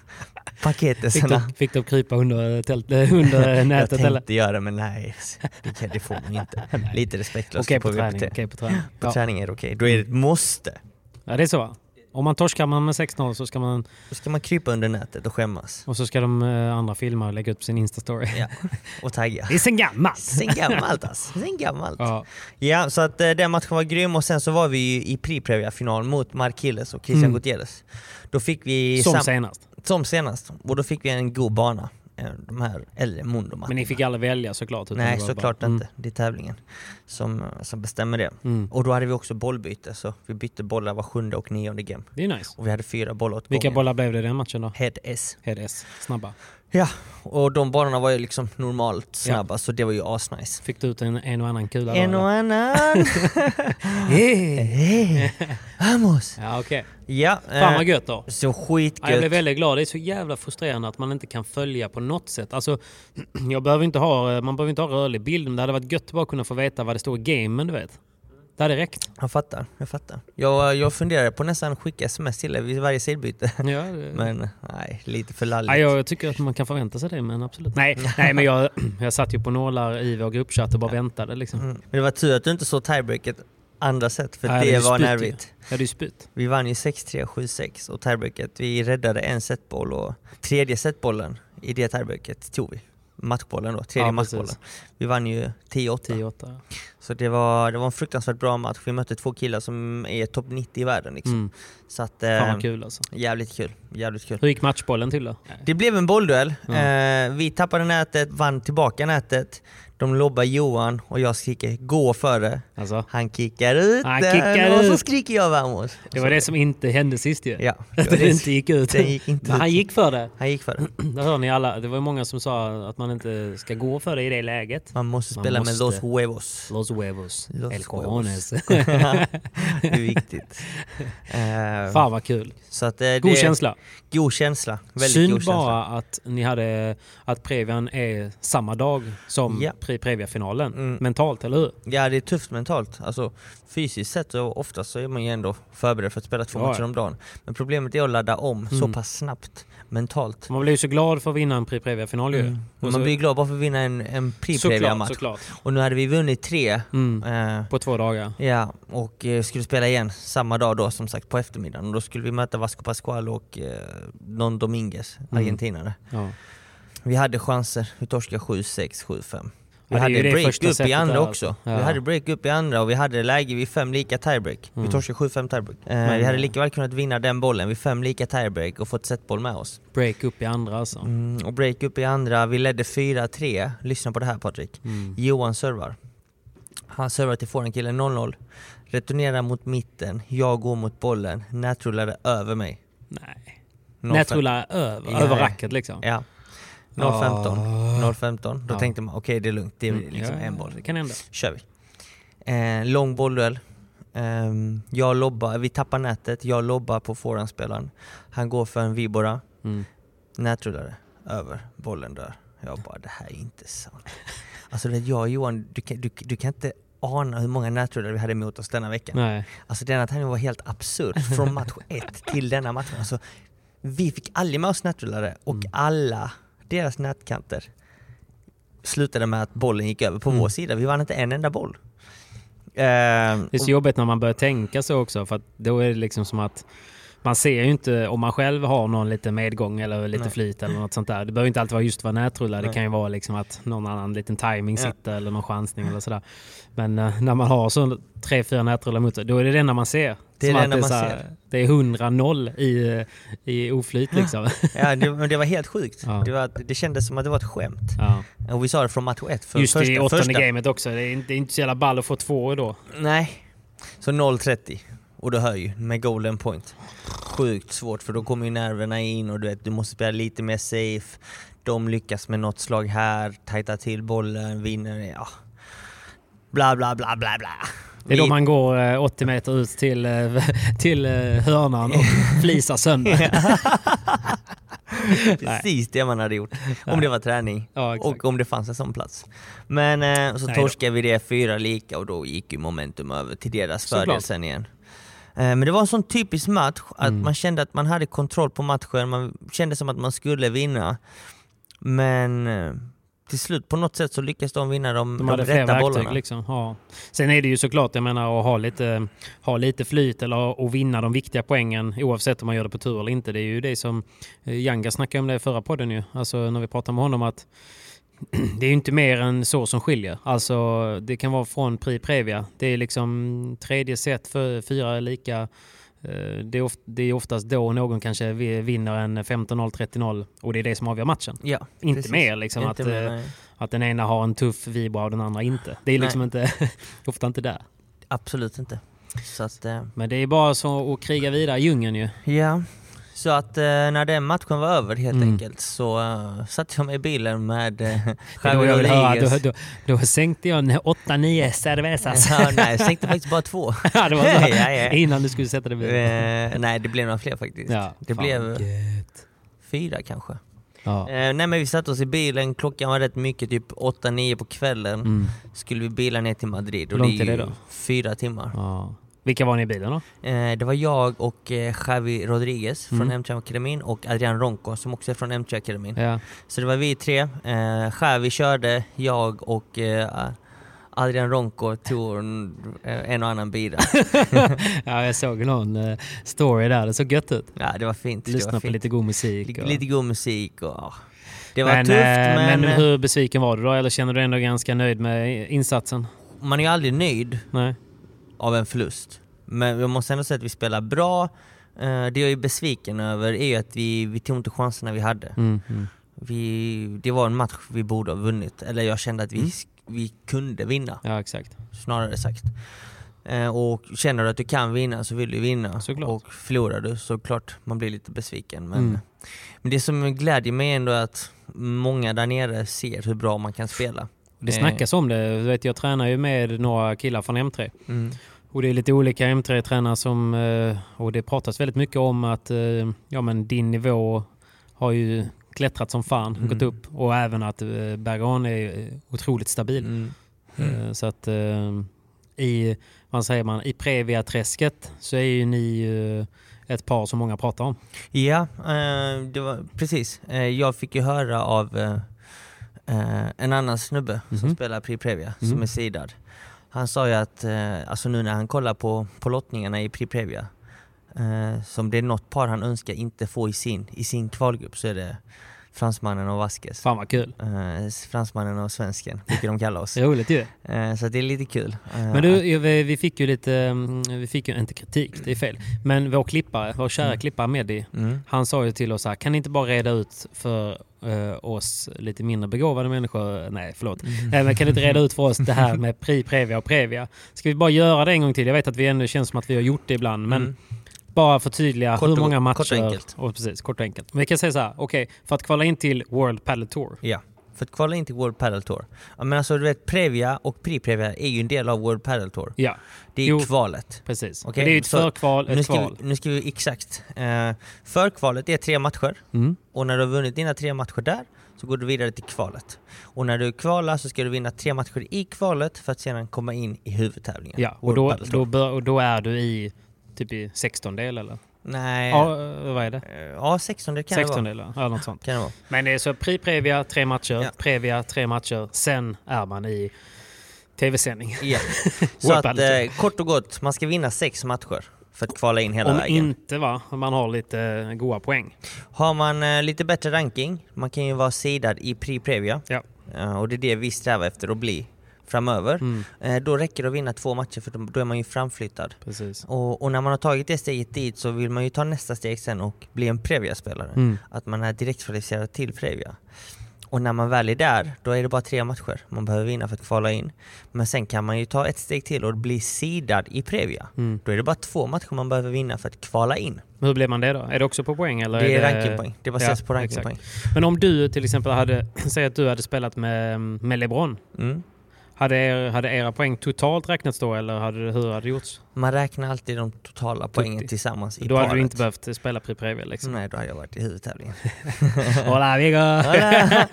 paketerna. de, fick de krypa under, tält, eh, under Jag nätet tänkte eller? göra det men nej, det, kan, det får man inte. Lite respektlöst. Okej på får vi träning. acceptera. Okej på träning. På Ja. Mm. träning är det okej, då är det ett måste. ja, det är så va? Om man torskar man med 6-0 så ska man... Då ska man krypa under nätet och skämmas. Och så ska de eh, andra filma och lägga upp sin Insta-story. Ja. Och tagga. Det är sen gammalt! Sen gammalt alltså. Sen gammalt. Ja. Ja. så att eh, den matchen var grym och sen så var vi ju i Priprevia-final mot Markiles och Christian Gutierrez. Då fick vi... Mm. Som sam- senast. som senast. Och då fick vi en god bana. eh, de här äldre mundomattorna. Men ni fick Mm. aldrig välja såklart? utan Nej, det var såklart bara- inte. Det är tävlingen som, som bestämmer det. Mm. Och då hade vi också bollbyte, så vi bytte bollar var sjunde och nionde game. Det är nice. Och vi hade fyra bollar åt Vilka gången. bollar blev det i den matchen då? Head S. Head S. Snabba. Ja, och de bollarna var ju liksom normalt snabba, så det var ju asnice. Fick du ut en, en och annan kula då? En och eller? annan! hey, hey. Vamos! Ja, okej. Ja, Fan eh, vad gött då. så Ja, jag blev skitgött. väldigt glad. Det är så jävla frustrerande att man inte kan följa på något sätt. Alltså, jag behöver inte ha, eh, man behöver inte ha rörlig bild, men det hade varit gött att bara kunna få veta vad det står i gamen, du vet. Det hade räckt. Jag fattar, jag fattar. Jag, jag funderade på nästan att skicka sms till dig vid varje sidbyte. Ja, det... Men nej, lite för lalligt. Ja, jag, jag tycker att man kan förvänta sig det, men absolut. Nej, nej men jag, jag satt ju på nålar i vår gruppchatt och bara väntade. Liksom. Mm. Men det var tur att du inte såg tiebreaket andra set, för Nej, det är var spyt ju. nervigt. Ja, det är ju spyt. Vi vann ju 6-3, 7-6 och tiebreaket, vi räddade en setboll och tredje setbollen i det tiebreaket tog vi. Matchbollen då, tredje Ja, precis. matchbollen. Vi vann ju 10-8. 10-8. Så det var, det var en fruktansvärt bra match. Vi mötte två killar som är topp 90 i världen liksom. Mm. Så att, Fan eh, vad kul alltså. jävligt kul. Jävligt kul. Hur gick matchbollen till då? Det blev en bollduell. Eh, vi tappade nätet, vann tillbaka nätet. De lobbar Johan och jag skriker gå före. Alltså, Han kickar ut Han den kickar och så ut. skriker jag vamos. det var det som inte hände sist ju. Ja, Att det inte gick ut. Den gick inte men han ut. gick för det. Han gick för det. Där hör ni alla. Det var ju många som sa att man inte ska gå för det i det läget. Man måste Man spela måste. med Los Huevos. Los huevos. Los El cojones. det är viktigt. Eh, Fan vad kul. så att, eh, det, God känsla. God känsla. Väldigt god Synd känsla. bara att ni hade att Previan är samma dag som Ja. pre Previa-finalen. Mm. Mentalt, eller hur? Ja, det är tufft mentalt. Alltså, fysiskt sett så oftast så är man ju ändå förberedd för att spela två Ja, Mm. matcher ja. om dagen. Men problemet är att ladda om så pass snabbt mentalt. Man blir ju så glad för att vinna en pre Previa-final ju. Och så- Mm. Man blir glad bara för att vinna en, en pre såklart, match såklart. Och nu hade vi vunnit tre. Mm. Eh, På två dagar. Ja, och eh, skulle spela igen samma dag då som sagt på eftermiddagen. Och då skulle vi möta Vasco Pascual och eh, Don Dominguez, Mm. argentinare. Ja. Vi hade chanser, vi torskade 7-6, 7-5. Vi Ja, det är ju hade det break första upp i setet andra där, också. alltså. Ja. Vi hade break upp i andra och vi hade läge vid fem lika tiebreak. Mm. Vi torskade 7-5 tiebreak. Eh, vi hade lika väl kunnat vinna den bollen vid fem lika tiebreak och fått setboll med oss. Break upp i andra alltså. Mm, och break upp i andra, vi ledde 4-3. Lyssna på det här Patrik. Mm. Johan servar. Han servar till forehandkillen 0-0. Returnerar mot mitten, jag går mot bollen, nätrullade över mig. Nej. 0-5. Nätrulla över, Ja. över racket liksom. Ja. 0-15. 0-15. Då tänkte man okej det är lugnt, det är liksom Ah. Mm, Ja, en boll. Det kan hända. kör vi. Eh, lång bollduell. Ehm, jag lobbar, vi tappar nätet, jag lobbar på forehandspelaren. Han går för en vibora. Mm. Nätrullare, över, bollen dör. Jag bara, det här är inte sant. Alltså det, jag och Johan, du kan, du, du kan inte ana hur många nätrullare vi hade emot oss denna veckan. Nej. Alltså denna tävling var helt absurd, från match ett till denna match. Alltså, vi fick aldrig med oss nätrullare och Mm. alla deras nätkanter slutade med att bollen gick över Mm. på vår sida. Vi vann inte en enda boll. Ehm, Det är så jobbigt när man börjar tänka så också för att då är det liksom som att man ser ju inte om man själv har någon liten medgång eller lite Nej. flyt eller något sånt där. Det behöver inte alltid vara just vad nätrullar. Det Nej. kan ju vara liksom att någon annan liten timing Ja. sitter eller någon chansning eller sådär. Men eh, när man har så tre, fyra nätrullar mot sig, då är det det enda man ser. Det är Som det att enda så man här- ser. Det är 100-0 i, i oflyt liksom. ja, det, men det var helt sjukt. Ja. Det, var, det kändes som att det var ett skämt. Ja. Och vi sa det från match ett. För Just i åttonde första- gamet också. Det är, inte, det är inte så jävla ball att få två då. Nej. Så 0-30. Och du hör ju, med golden point. Sjukt svårt för då kommer ju nerverna in och du vet, du måste spela lite mer safe. De lyckas med något slag här, tajtar till bollen, vinner. Ja. Bla bla bla bla bla. Det är då Vi- man går eh, 80 meter ut till, eh, till eh, hörnan och flisar sönder. Precis det man hade gjort. Om det var träning Ja, exakt. och om det fanns en sån plats. Men eh, så Nej då. torskade vi det fyra lika och då gick ju momentum över till deras Såklart. fördel sen igen. Eh, Men det var en sån typisk match att Mm. man kände att man hade kontroll på matchen, man kände som att man skulle vinna. Men eh, till slut på något sätt så lyckades de vinna de, De de hade fler rätta verktyg. bollarna. Liksom. Ja. Sen är det ju såklart, jag menar, att ha lite, ha lite flyt eller att vinna de viktiga poängen oavsett om man gör det på tur eller inte. Det är ju det som eh, Janga snackade om det i förra podden ju. Alltså när vi pratade med honom att det är ju inte mer än så som skiljer. Alltså det kan vara från Pri Previa. Det är liksom tredje set, för fyra lika. Eh, Det är, of- det är oftast då någon kanske vi- vinner en 15-0, 30-0 och det är det som avgör matchen. Ja, Inte precis. mer liksom Inte att, mer, eh, nej. att den ena har en tuff vibra och den andra inte. Det är liksom inte, ofta inte där. Absolut inte. Så att, eh, Men det är bara så att kriga vidare i djungeln ju. ja. Så att eh, när den matchen var över helt Mm. enkelt så eh, satte jag mig i bilen med eh, Det är Javier då jag vill höra, Rodriguez. då, då, då sänkte jag 8-9 cervezas. Ja, nej, jag sänkte faktiskt bara två. Ja, det var så. Ja, ja. Innan du skulle sätta dig vid. Eh, nej, det blev några fler faktiskt. Ja, det fan, blev gött. fyra kanske. Ja. Eh, nej men vi satte oss i bilen, klockan var rätt mycket, typ 8-9 på kvällen. Mm. Skulle vi bila ner till Madrid och Hur långt det är är det ju då? fyra timmar. Ja. Vilka var ni i bilen då? Eh, det var jag och eh, Javi Rodriguez Mm. från MC Akademin och Adrian Ronco som också är från MC Akademin. Ja. Så det var vi tre. Eh, Javi körde, jag och eh, Adrian Ronco tog en, eh, en och annan bira. ja, jag såg någon eh, story där. Det såg gött ut. ja, det var fint. Det Lyssna var på fint. lite god musik. Lite, och- lite god musik och ja. Det var men, tufft eh, men, men hur besviken var du då? Eller känner du dig ändå ganska nöjd med insatsen? man är ju aldrig nöjd Nej. av en förlust. Men jag måste ändå säga att vi spelar bra. Eh, Det jag är besviken över är ju att vi, vi tog inte chanserna vi hade. Mm, mm. Vi, det var en match vi borde ha vunnit, eller jag kände att vi, Mm. sk- vi kunde vinna, Ja, exakt. snarare sagt. Eh, Och känner du att du kan vinna så vill du vinna. Såklart. Och förlorar du så klart man blir lite besviken. Men, Mm. men det som glädjer mig ändå är att många där nere ser hur bra man kan spela. Det Eh, snackas om det. Du Vet, jag tränar ju med några killar från M3. Mm. Och det är lite olika M3-tränare som... eh, Och det pratas väldigt mycket om att eh, ja, men din nivå har ju klättrat som fan, Mm. gått upp. Och även att eh, Bergan är eh, otroligt stabil. Mm. Eh, Så att eh, i, vad säger man, i Previa-träsket så är ju ni eh, ett par som många pratar om. Ja, eh, det var, precis. Eh, jag fick ju höra av eh, eh, en annan snubbe som Mhm. spelar Pri Previa, som Mhm. är sidad. Han sa ju att, eh, alltså nu när han kollar på, på lottningarna i Pri Previa, eh, som det är något par han önskar inte få i sin, i sin kvalgrupp så är det fransmannen och Vasquez. Fan vad kul. Eh, s- fransmannen och svensken, brukar de kalla oss. Roligt ju. Eh, så att det är lite kul. Eh, Men du, vi vi fick ju lite, mm, vi fick ju inte kritik, det är fel. Men vår klippare, vår kära klippare Mehdi, Mm. han sa ju till oss här, kan ni inte bara reda ut för eh, oss lite mindre begåvade människor, nej förlåt, Mm. Nej, men kan ni inte reda ut för oss det här med pri, previa och previa? Ska vi bara göra det en gång till? Jag vet att vi ändå känns som att vi har gjort det ibland, men Mm. Bara förtydliga Kort hur och go- många matcher... kort och enkelt. Och precis, kort och enkelt. Men vi kan säga så här, okej, för att kvala in till World Padel Tour. Ja, för att kvala in till World Padel Tour. Ja, men alltså du vet, Previa och Pre-Previa är ju en del av World Padel Tour. Ja, Det är Jo. kvalet. precis. Okej, det är ju ett så förkval, nu ett ska, kval. Vi, nu ska vi exakt. Eh, förkvalet är tre matcher Mm. och när du har vunnit dina tre matcher där så går du vidare till kvalet. Och när du kvalar så ska du vinna tre matcher i kvalet för att sedan komma in i huvudtävlingen. Ja, och World då, Padel Tour. då, bör, och då är du i typ i 16-del eller? Nej, Ja, eh, ja, vad är det? ja 16 det kan det 16 vara. delar, eller något sånt. Kan det vara. Men det är så pri Previa, tre matcher, Ja. Previa, tre matcher, sen är man i tv-sändning. Ja. så World att, Padel Tour. eh, kort och gott, man ska vinna sex matcher för att kvala in hela Om vägen. inte va, om man har lite eh, goa poäng. Har man eh, lite bättre ranking, man kan ju vara sidad i Pri Previa Ja. eh, och det är det vi strävar efter att bli framöver. Mm. Eh, då räcker det att vinna två matcher för då- då är man ju framflyttad. Precis. Och, och när man har tagit det steget dit så vill man ju ta nästa steg sen och bli en Previa-spelare. Mm. Att man är direkt kvalificerad till Previa. Och när man väl är där, då är det bara tre matcher man behöver vinna för att kvala in. Men sen kan man ju ta ett steg till och bli sidad i Previa. Mm. Då är det bara två matcher man behöver vinna för att kvala in. Men hur blir man det då? Är det också på poäng? Eller Det är rankingpoäng. Det baseras på exakt. rankingpoäng. Men om du till exempel hade, säg att du hade spelat med, med LeBron. Mm. Hade, er, hade era poäng totalt räknats då eller hade, hur hade det gjorts? Man räknar alltid de totala poängen tillsammans i då paret. hade du inte behövt spela Pri Previa liksom. Nej, då hade jag varit i huvudtävlingen. Hola Viggo! Hola!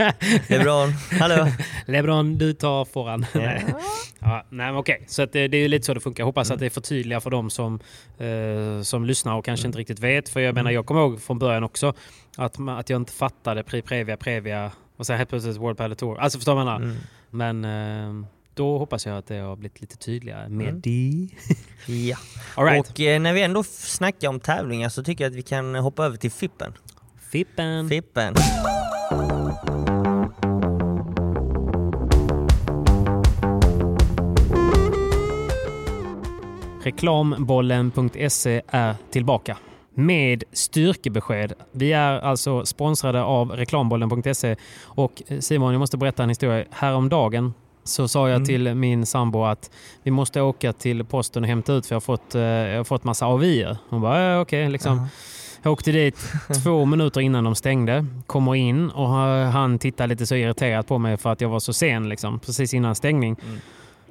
LeBron, hallå! LeBron, du tar föran. Nej. Ja, nej, men okej. Så att det, det är ju lite så det funkar. Jag hoppas att det är förtydligar för de som, eh, som lyssnar och kanske inte riktigt vet. För jag menar, jag kommer ihåg från början också att, ma- att jag inte fattade Pri Previa, Previa och sen helt plötsligt World Padel Tour. Alltså förstår du vad jag menar? Men eh, då hoppas jag att det har blivit lite tydligare med Mm. det. Ja. All right. Och eh, när vi ändå f- snackar om tävlingar så tycker jag att vi kan hoppa över till Fippen. Fippen. Fippen. Reklambollen.se E är tillbaka med styrkebesked. Vi är alltså sponsrade av reklambollen.se och eh, Simon, jag måste berätta en historia. Häromdagen så sa jag till min sambo att vi måste åka till posten och hämta ut för jag har fått, eh, jag har fått massa avier. Hon bara, äh, okej, liksom. Jag åkte dit två minuter innan de stängde, kommer in och eh, han tittar lite så irriterat på mig för att jag var så sen, liksom, precis innan stängning.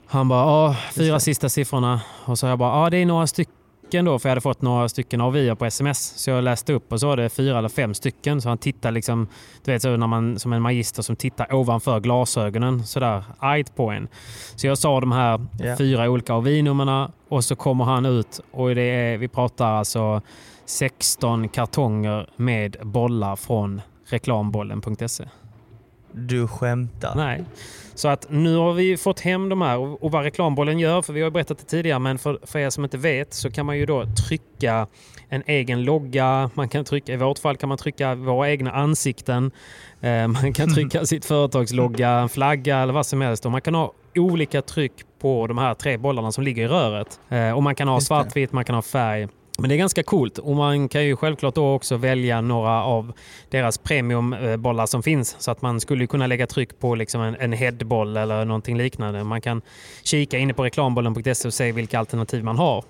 Han bara, ja, fyra sista siffrorna. Och så jag bara, ja, det är några stycken då, för jag hade fått några stycken avier på sms. Så jag läste upp och så var det fyra eller fem stycken. Så han tittar liksom, du vet, så när man, som en magister som tittar ovanför glasögonen sådär argt på en. Så jag sa de här Ja. fyra olika avinummerna och så kommer han ut och det är, vi pratar alltså 16 kartonger med bollar från reklambollen.se. Du skämtar. Nej. Så att nu har vi fått hem de här och och vad reklambollen gör, för vi har ju berättat det tidigare, men för, för er som inte vet så kan man ju då trycka en egen logga. Man kan trycka, I vårt fall kan man trycka våra egna ansikten. Eh, man kan trycka sitt företags logga, en flagga eller vad som helst. Och man kan ha olika tryck på de här tre bollarna som ligger i röret. Eh, och man kan ha Just det. svartvitt, man kan ha färg. Men det är ganska coolt och man kan ju självklart då också välja några av deras premiumbollar som finns. Så att man skulle ju kunna lägga tryck på liksom en, en headboll eller någonting liknande. Man kan kika inne på reklambollen.se och se vilka alternativ man har.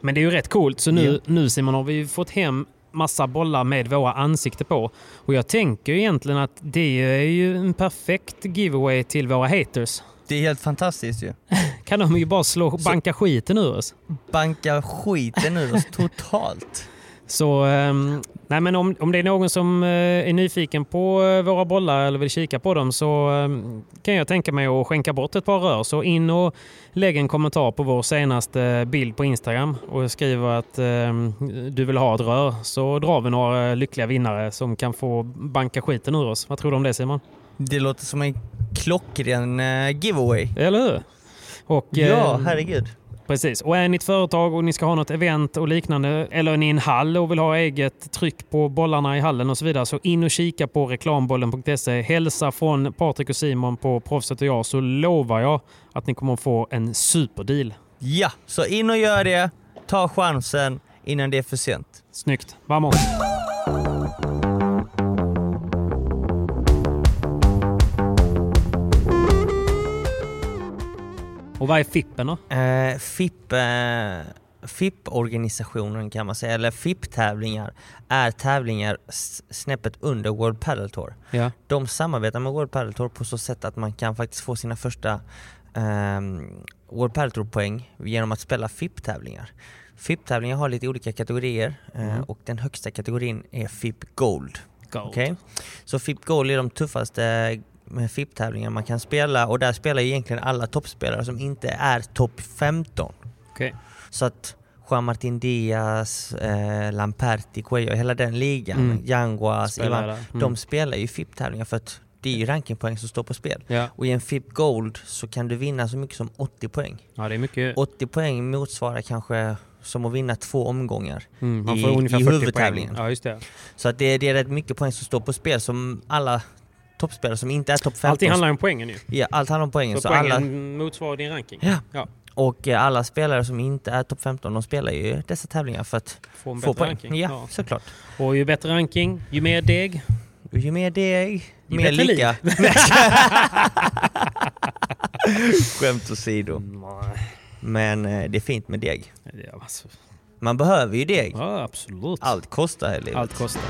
Men det är ju rätt coolt. Så nu, nu Simon har vi ju fått hem massa bollar med våra ansikten på. Och jag tänker ju egentligen att det är ju en perfekt giveaway till våra haters. Det är helt fantastiskt ju. Kan de ju bara slå, banka skiten ur oss. Bankar skiten ur oss totalt. Så ehm, nej men om, om det är någon som eh, är nyfiken på eh, våra bollar eller vill kika på dem så ehm, kan jag tänka mig att skänka bort ett par rör. Så in och lägg en kommentar på vår senaste bild på Instagram och skriv att ehm, du vill ha ett rör så drar vi några lyckliga vinnare som kan få banka skiten ur oss. Vad tror du om det Simon? Det låter som en klockren eh, giveaway. Eller hur? Och, Ja, ehm, herregud. Precis. Och är ni ett företag och ni ska ha något event och liknande eller är ni en hall och vill ha eget tryck på bollarna i hallen och så vidare så in och kika på reklambollen.se. E. Hälsa från Patrik och Simon på Proffset och jag så lovar jag att ni kommer att få en superdeal. Ja, så in och gör det. Ta chansen innan det är för sent. Snyggt. Vamos! Och vad är Fippen då? Eh, FIP, eh, FIP-organisationen kan man säga, eller FIP-tävlingar, är tävlingar s- snäppet under World Padel Tour. Ja. De samarbetar med World Padel Tour på så sätt att man kan faktiskt få sina första ehm, World Padel Tour-poäng genom att spela FIP-tävlingar. FIP-tävlingar har lite olika kategorier eh, och den högsta kategorin är FIP Gold. Okej? Så FIP Gold är de tuffaste med FIP-tävlingar man kan spela och där spelar ju egentligen alla toppspelare som inte är topp 15. Okej. Så att Juan Martin Diaz, eh, Lamperti, Cuello, hela den ligan, Mm. Yanguas, Spelar Alltså, Ivan, där. Mm. de spelar ju FIP-tävlingar för att det är ju rankingpoäng som står på spel. Ja. Och i en FIP Gold så kan du vinna så mycket som 80 poäng. ja, det är mycket. 80 poäng motsvarar kanske som att vinna två omgångar Mm, man i, får ungefär i 40 poäng. huvudtävlingen. Ja, just det. Så att det, är- det är rätt mycket poäng som står på spel som alla toppspelare som inte är topp 15. Allting handlar om poängen ju. ja, allt handlar om poängen. Så, Så, poängen alla, motsvarar din ranking. ja, Ja, och eh, alla spelare som inte är topp 15 de spelar ju dessa tävlingar för att får en få bättre poäng. ranking. Ja, Ja. såklart. Och ju bättre ranking, ju mer deg. Och ju mer deg, Ju mer bättre lycka. Skämt åsido. Mm, Men eh, det är fint med deg. Ja, alltså. Man behöver ju deg. ja absolut. Allt Eh. kostar här i livet. Allt kostar.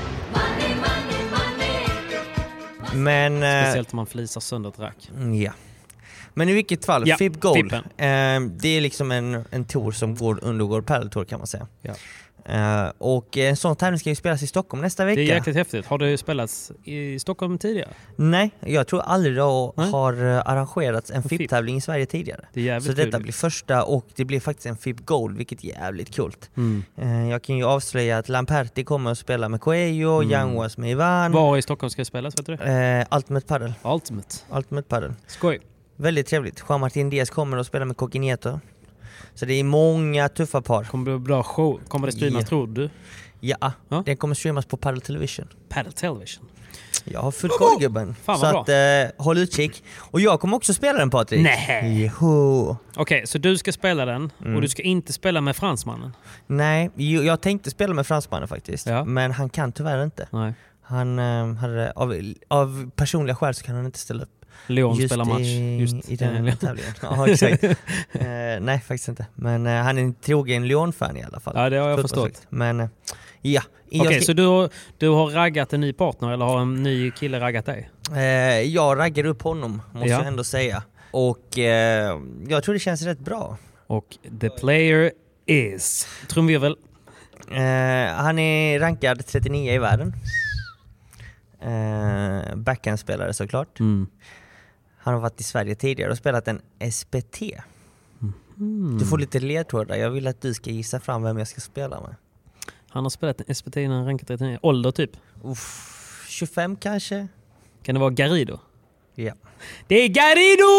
Men... eh, Speciellt om man flisar sönder ett rack. Mm, Ja. Men i vilket fall, Ja, FIB Gold, Fippen. eh, det är liksom en, en tour som går under World Padel Tour kan man säga. Ja. Eh, och eh, en sån tävling ska ju spelas i Stockholm nästa Det vecka. är jäkligt häftigt. Har det spelats i Stockholm tidigare? Nej, jag tror aldrig det har- Nej. har eh, arrangerats en FIB. FIB-tävling i Sverige tidigare. Det är jävligt Så detta kul. blir första och det blir faktiskt en FIB Gold, vilket är jävligt coolt. Mm. Eh, jag kan ju avslöja att Lamperti kommer att spela med Coelho, Mm. Young Was med Ivan, Var i Stockholm ska det spelas? Vet du det? eh, Ultimate Padel. Ultimate. Ultimate Padel. Skoj. Väldigt trevligt. Juan Martin Diaz kommer och spelar med Coquinieto. Så det är många tuffa par. Kommer det bli bra show? Kommer det streamas Ja. tror du? Ja, ah, Ja. den kommer streamas på Paddle Television. Paddle Television. Jag har full koll gubben. Fan, Så vad att, eh, håll utkik. Och jag kommer också spela den Patrik. Nej. Jo. Okej, så du ska spela den Mm. och du ska inte spela med fransmannen? Nej, jo, jag tänkte spela med fransmannen faktiskt. Ja. Men han kan tyvärr inte. Nej. Han eh, hade, av, av personliga skäl så kan han inte ställa upp. Lyon spelar match. i, Just i den eh, tävlingen. Ja, exakt. Eh, nej, faktiskt inte. Men eh, han är en trogen Lyon-fan i alla fall. Ja, det har jag Fullt förstått. perfekt. Men eh, ja. Jag, Okej, ska- så du har, du har raggat en ny partner eller har en ny kille raggat dig? eh, jag raggar upp honom, måste Ja. jag ändå säga. Och eh, jag tror det känns rätt bra. Och the player is... Trumvirvel. Eh, han är rankad 39 i världen. Eh, Backhandspelare såklart. Mm. Han har varit i Sverige tidigare och spelat en SPT. Mm-hmm. Du får lite ledtrådar. Jag vill att du ska gissa fram vem jag ska spela med. Han har spelat en SPT innan han rankat 39. Ålder typ. Uff, 25 kanske? Kan det vara Garrido? Ja. Det är Garrido!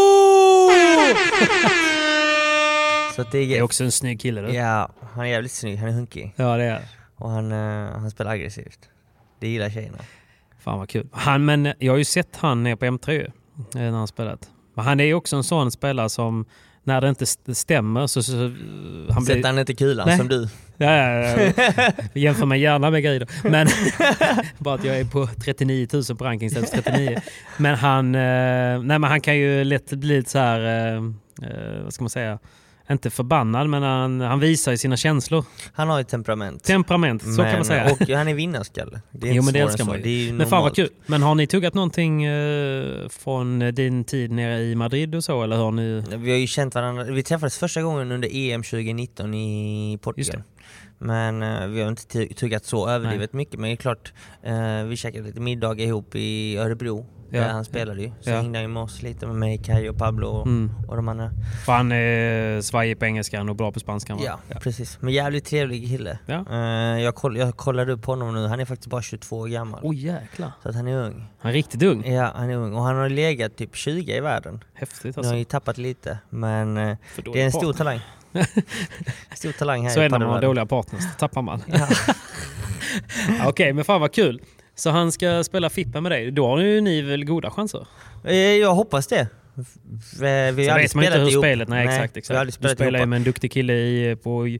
Så att det Det är... är också en snygg kille du. Ja, han är jävligt snygg. Han är hunkig. Ja, det är Och han, eh, han spelar aggressivt. Det gillar tjejerna. Fan vad kul. Han, men jag har ju sett han nere på M3 ju, eh, när han spelat. Men han är ju också en sån spelare som när det inte st- stämmer så... så så- han blir, Sätter han inte kulan Nej. som du? Ja, ja, ja. Jämför mig gärna med Guido. Men bara att jag är på 39 000 på ranking istället för 39. Men han, eh, nej, men han kan ju lätt bli lite så här, eh, eh, vad ska man säga, inte förbannad men han, han visar ju sina känslor. Han har ju temperament. Temperament, så kan man Men- säga. Och han är vinnarskalle. Det är jo inte men det svårare älskar än så. man ju. Det är ju men fan vad normalt. kul. Men har ni tuggat någonting eh, från din tid nere i Madrid och så eller har ni? Vi har ju känt varandra, vi träffades första gången under EM 2019 i Portugal. Men eh, vi har inte tu- tuggat så överdrivet mycket. Men det är klart, eh, vi käkade lite middag ihop i Örebro. Ja. Där han spelade ju. Så Ja. hängde han ju med oss lite, med mig, Kaj och Pablo och, Mm. och de andra. För han är svajig på engelskan och bra på spanskan va? Ja, precis. Men jävligt trevlig kille. Ja. Eh, jag, koll, jag kollade upp honom nu, han är faktiskt bara 22 år gammal. Oj jäklar. Så att han är ung. Han är riktigt ung. Ja, han är ung. Och han har legat typ 20 i världen. Häftigt Nu har alltså. han ju tappat lite, men eh, För dålig det är en stor partner. talang. stor talang här Så i är det när man har padelvärlden. dåliga partners, då tappar man. Okej, men fan vad kul. Så han ska spela Fippa med dig. Då har ju ni väl goda chanser? Eh, Jag hoppas det. F- f- Vi har Sen aldrig vet man inte spelat hur ihop. spelet... Nej, exakt. Vi har exakt. aldrig du spelat spelar ju ihop. med en duktig kille i, på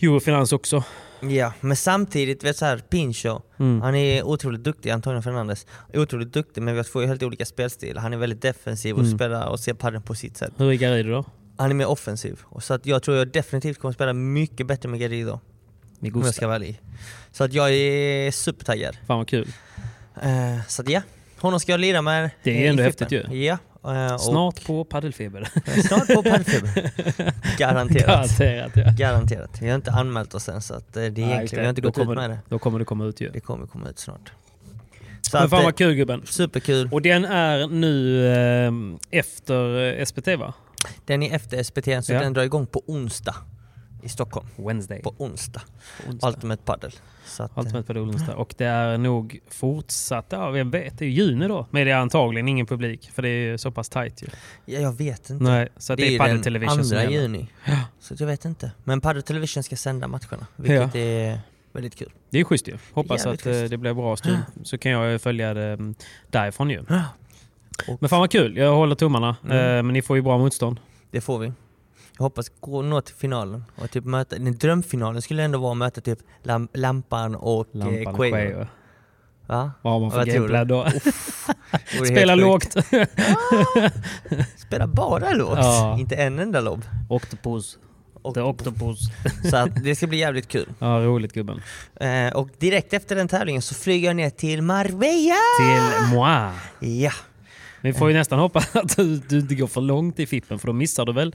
Eurofinans också. Ja, men samtidigt, vet du så här, Pincho, Mm. han är otroligt duktig, Antonio Fernandes. Otroligt duktig, men vi har två helt olika spelstilar. Han är väldigt defensiv och Mm. spelar och ser padden på sitt sätt. Hur är Garrido då? Han är mer offensiv. Och Så att jag tror jag definitivt kommer spela mycket bättre med Garrido. Om Med jag ska Gustav. vara ärlig. Så att jag är supertaggad. Fan vad kul. Eh, så att ja, honom ska jag lira med. Det är eh, i ändå Cypern. häftigt ju. Ja. eh, och- Snart på paddelfeber. Snart på paddelfeber. Garanterat. Garanterat. Ja. Garanterat. Vi har inte anmält oss än så att eh, det är Nej, egentligen, vi har inte då gått ut kommer, med det. Då kommer det komma ut ju. Det kommer komma ut snart. Så Men fan eh, vad kul gubben. Superkul. Och den är nu eh, efter eh, SPT va? Den är efter SPT så Ja. den drar igång på onsdag i Stockholm. Wednesday. På onsdag. onsdag. Ultimate Padel. Så att, eh, Allt med på Olonstad. Och det är nog fortsatt, ja vem vet, det är ju juni då. Men det är antagligen ingen publik för det är ju så pass tajt ju. eh, ja, jag vet inte. Nej, så att det, är Padel den Television som andra gäller. juni. Så att jag vet inte. Men Padel Television ska sända matcherna, Ja. vilket är väldigt kul. Det är schysst ju. Hoppas Jävligt att eh, schysst. det blir bra stream. Så kan jag ju följa det mm, därifrån ju. Och- Men fan vad kul, jag håller tummarna. Mm. Eh, Men ni får ju bra motstånd. Det får vi. Jag hoppas gå nå till finalen och typ möta, den drömfinalen skulle ändå vara att möta typ Lam- Lampan och Lampan och Lampan Quayo. Quayo. Va? Vad har man för Vad tror du? gameplan då? Det vore helt Spela sjukt. lågt. Spela bara lågt, Ja. inte en enda lobb. Octopus. The Octopus. Så att det ska bli jävligt kul. Ja, roligt gubben. Eh, och direkt efter den tävlingen så flyger jag ner till Marbella! Till moi. Ja, Vi får ju Eh. nästan hoppas att du, du inte går för långt i Fippen för då missar du väl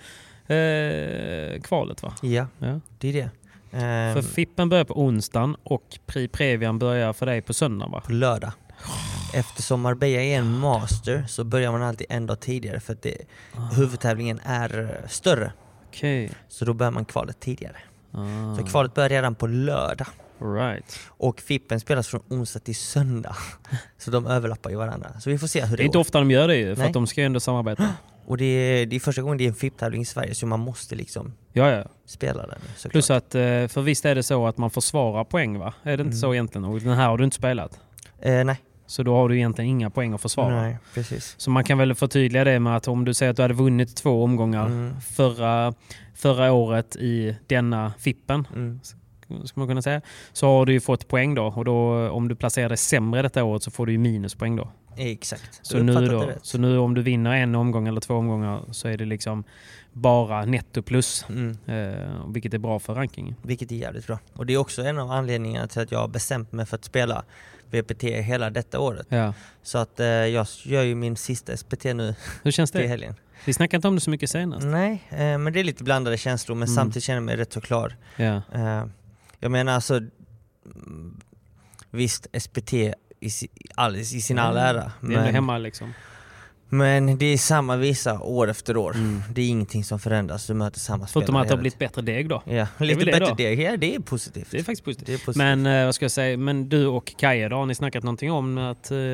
eh, kvalet va? ja, Ja. det är det. Eh, För Fippen börjar på onsdagen och Pri Previan börjar för dig på söndag va? på lördag. Eftersom Marbella är en master så börjar man alltid en dag tidigare för att det, Ah. huvudtävlingen är eh, större. Okej. Så då börjar man kvalet tidigare. Ah, Så kvalet börjar redan på lördag. right. Och Fippen spelas från onsdag till söndag. Så de överlappar ju varandra. Så vi får se hur Det det, är inte går. ofta de gör det ju för Nej. att de ska ju ändå samarbeta. Och det är, det är första gången det är en FIP-tävling i Sverige så man måste liksom Ja, ja. spela den. såklart. Plus att, eh, Mm. för visst är det så att man försvarar poäng va? Är det inte så egentligen? Och den här har du inte spelat. Eh, nej. Så då har du egentligen inga poäng att försvara. Nej, precis. Så man kan väl förtydliga det med att om du säger att du hade vunnit två omgångar Mm. förra, förra året i denna fippen, Mm. ska man kunna säga, så har du ju fått poäng då. Och då, om du placerar dig sämre detta året så får du ju minuspoäng då. Exakt. Så Du nu, uppfattar då, det rätt. så nu om du vinner en omgång eller två omgångar så är det liksom bara netto plus. Mm. Eh, vilket är bra för rankingen. Vilket är jävligt bra. Och det är också en av anledningarna till att jag har bestämt mig för att spela VPT hela detta året. Ja. Så att eh, jag gör ju min sista SPT nu Hur känns till det? helgen. Vi snackade inte om det så mycket senast. Nej, eh, men det är lite blandade känslor men Mm. samtidigt känner jag mig rätt så klar. Ja. Eh, jag menar alltså, mm, visst SPT i, si- all, i sin all Mm. ära. Det är ändå Men, hemma liksom. men det är samma visa år efter år. Det är ingenting som förändras, du möter samma spelare. Mm. Förutom att det har hela blivit bättre deg då. tiden. Ja, väl lite det bättre då. deg. Ja, det är positivt. Det är faktiskt positivt. Det är positivt. Men eh, vad ska jag säga? Men du och Kaja då, har ni snackat någonting om att eh, det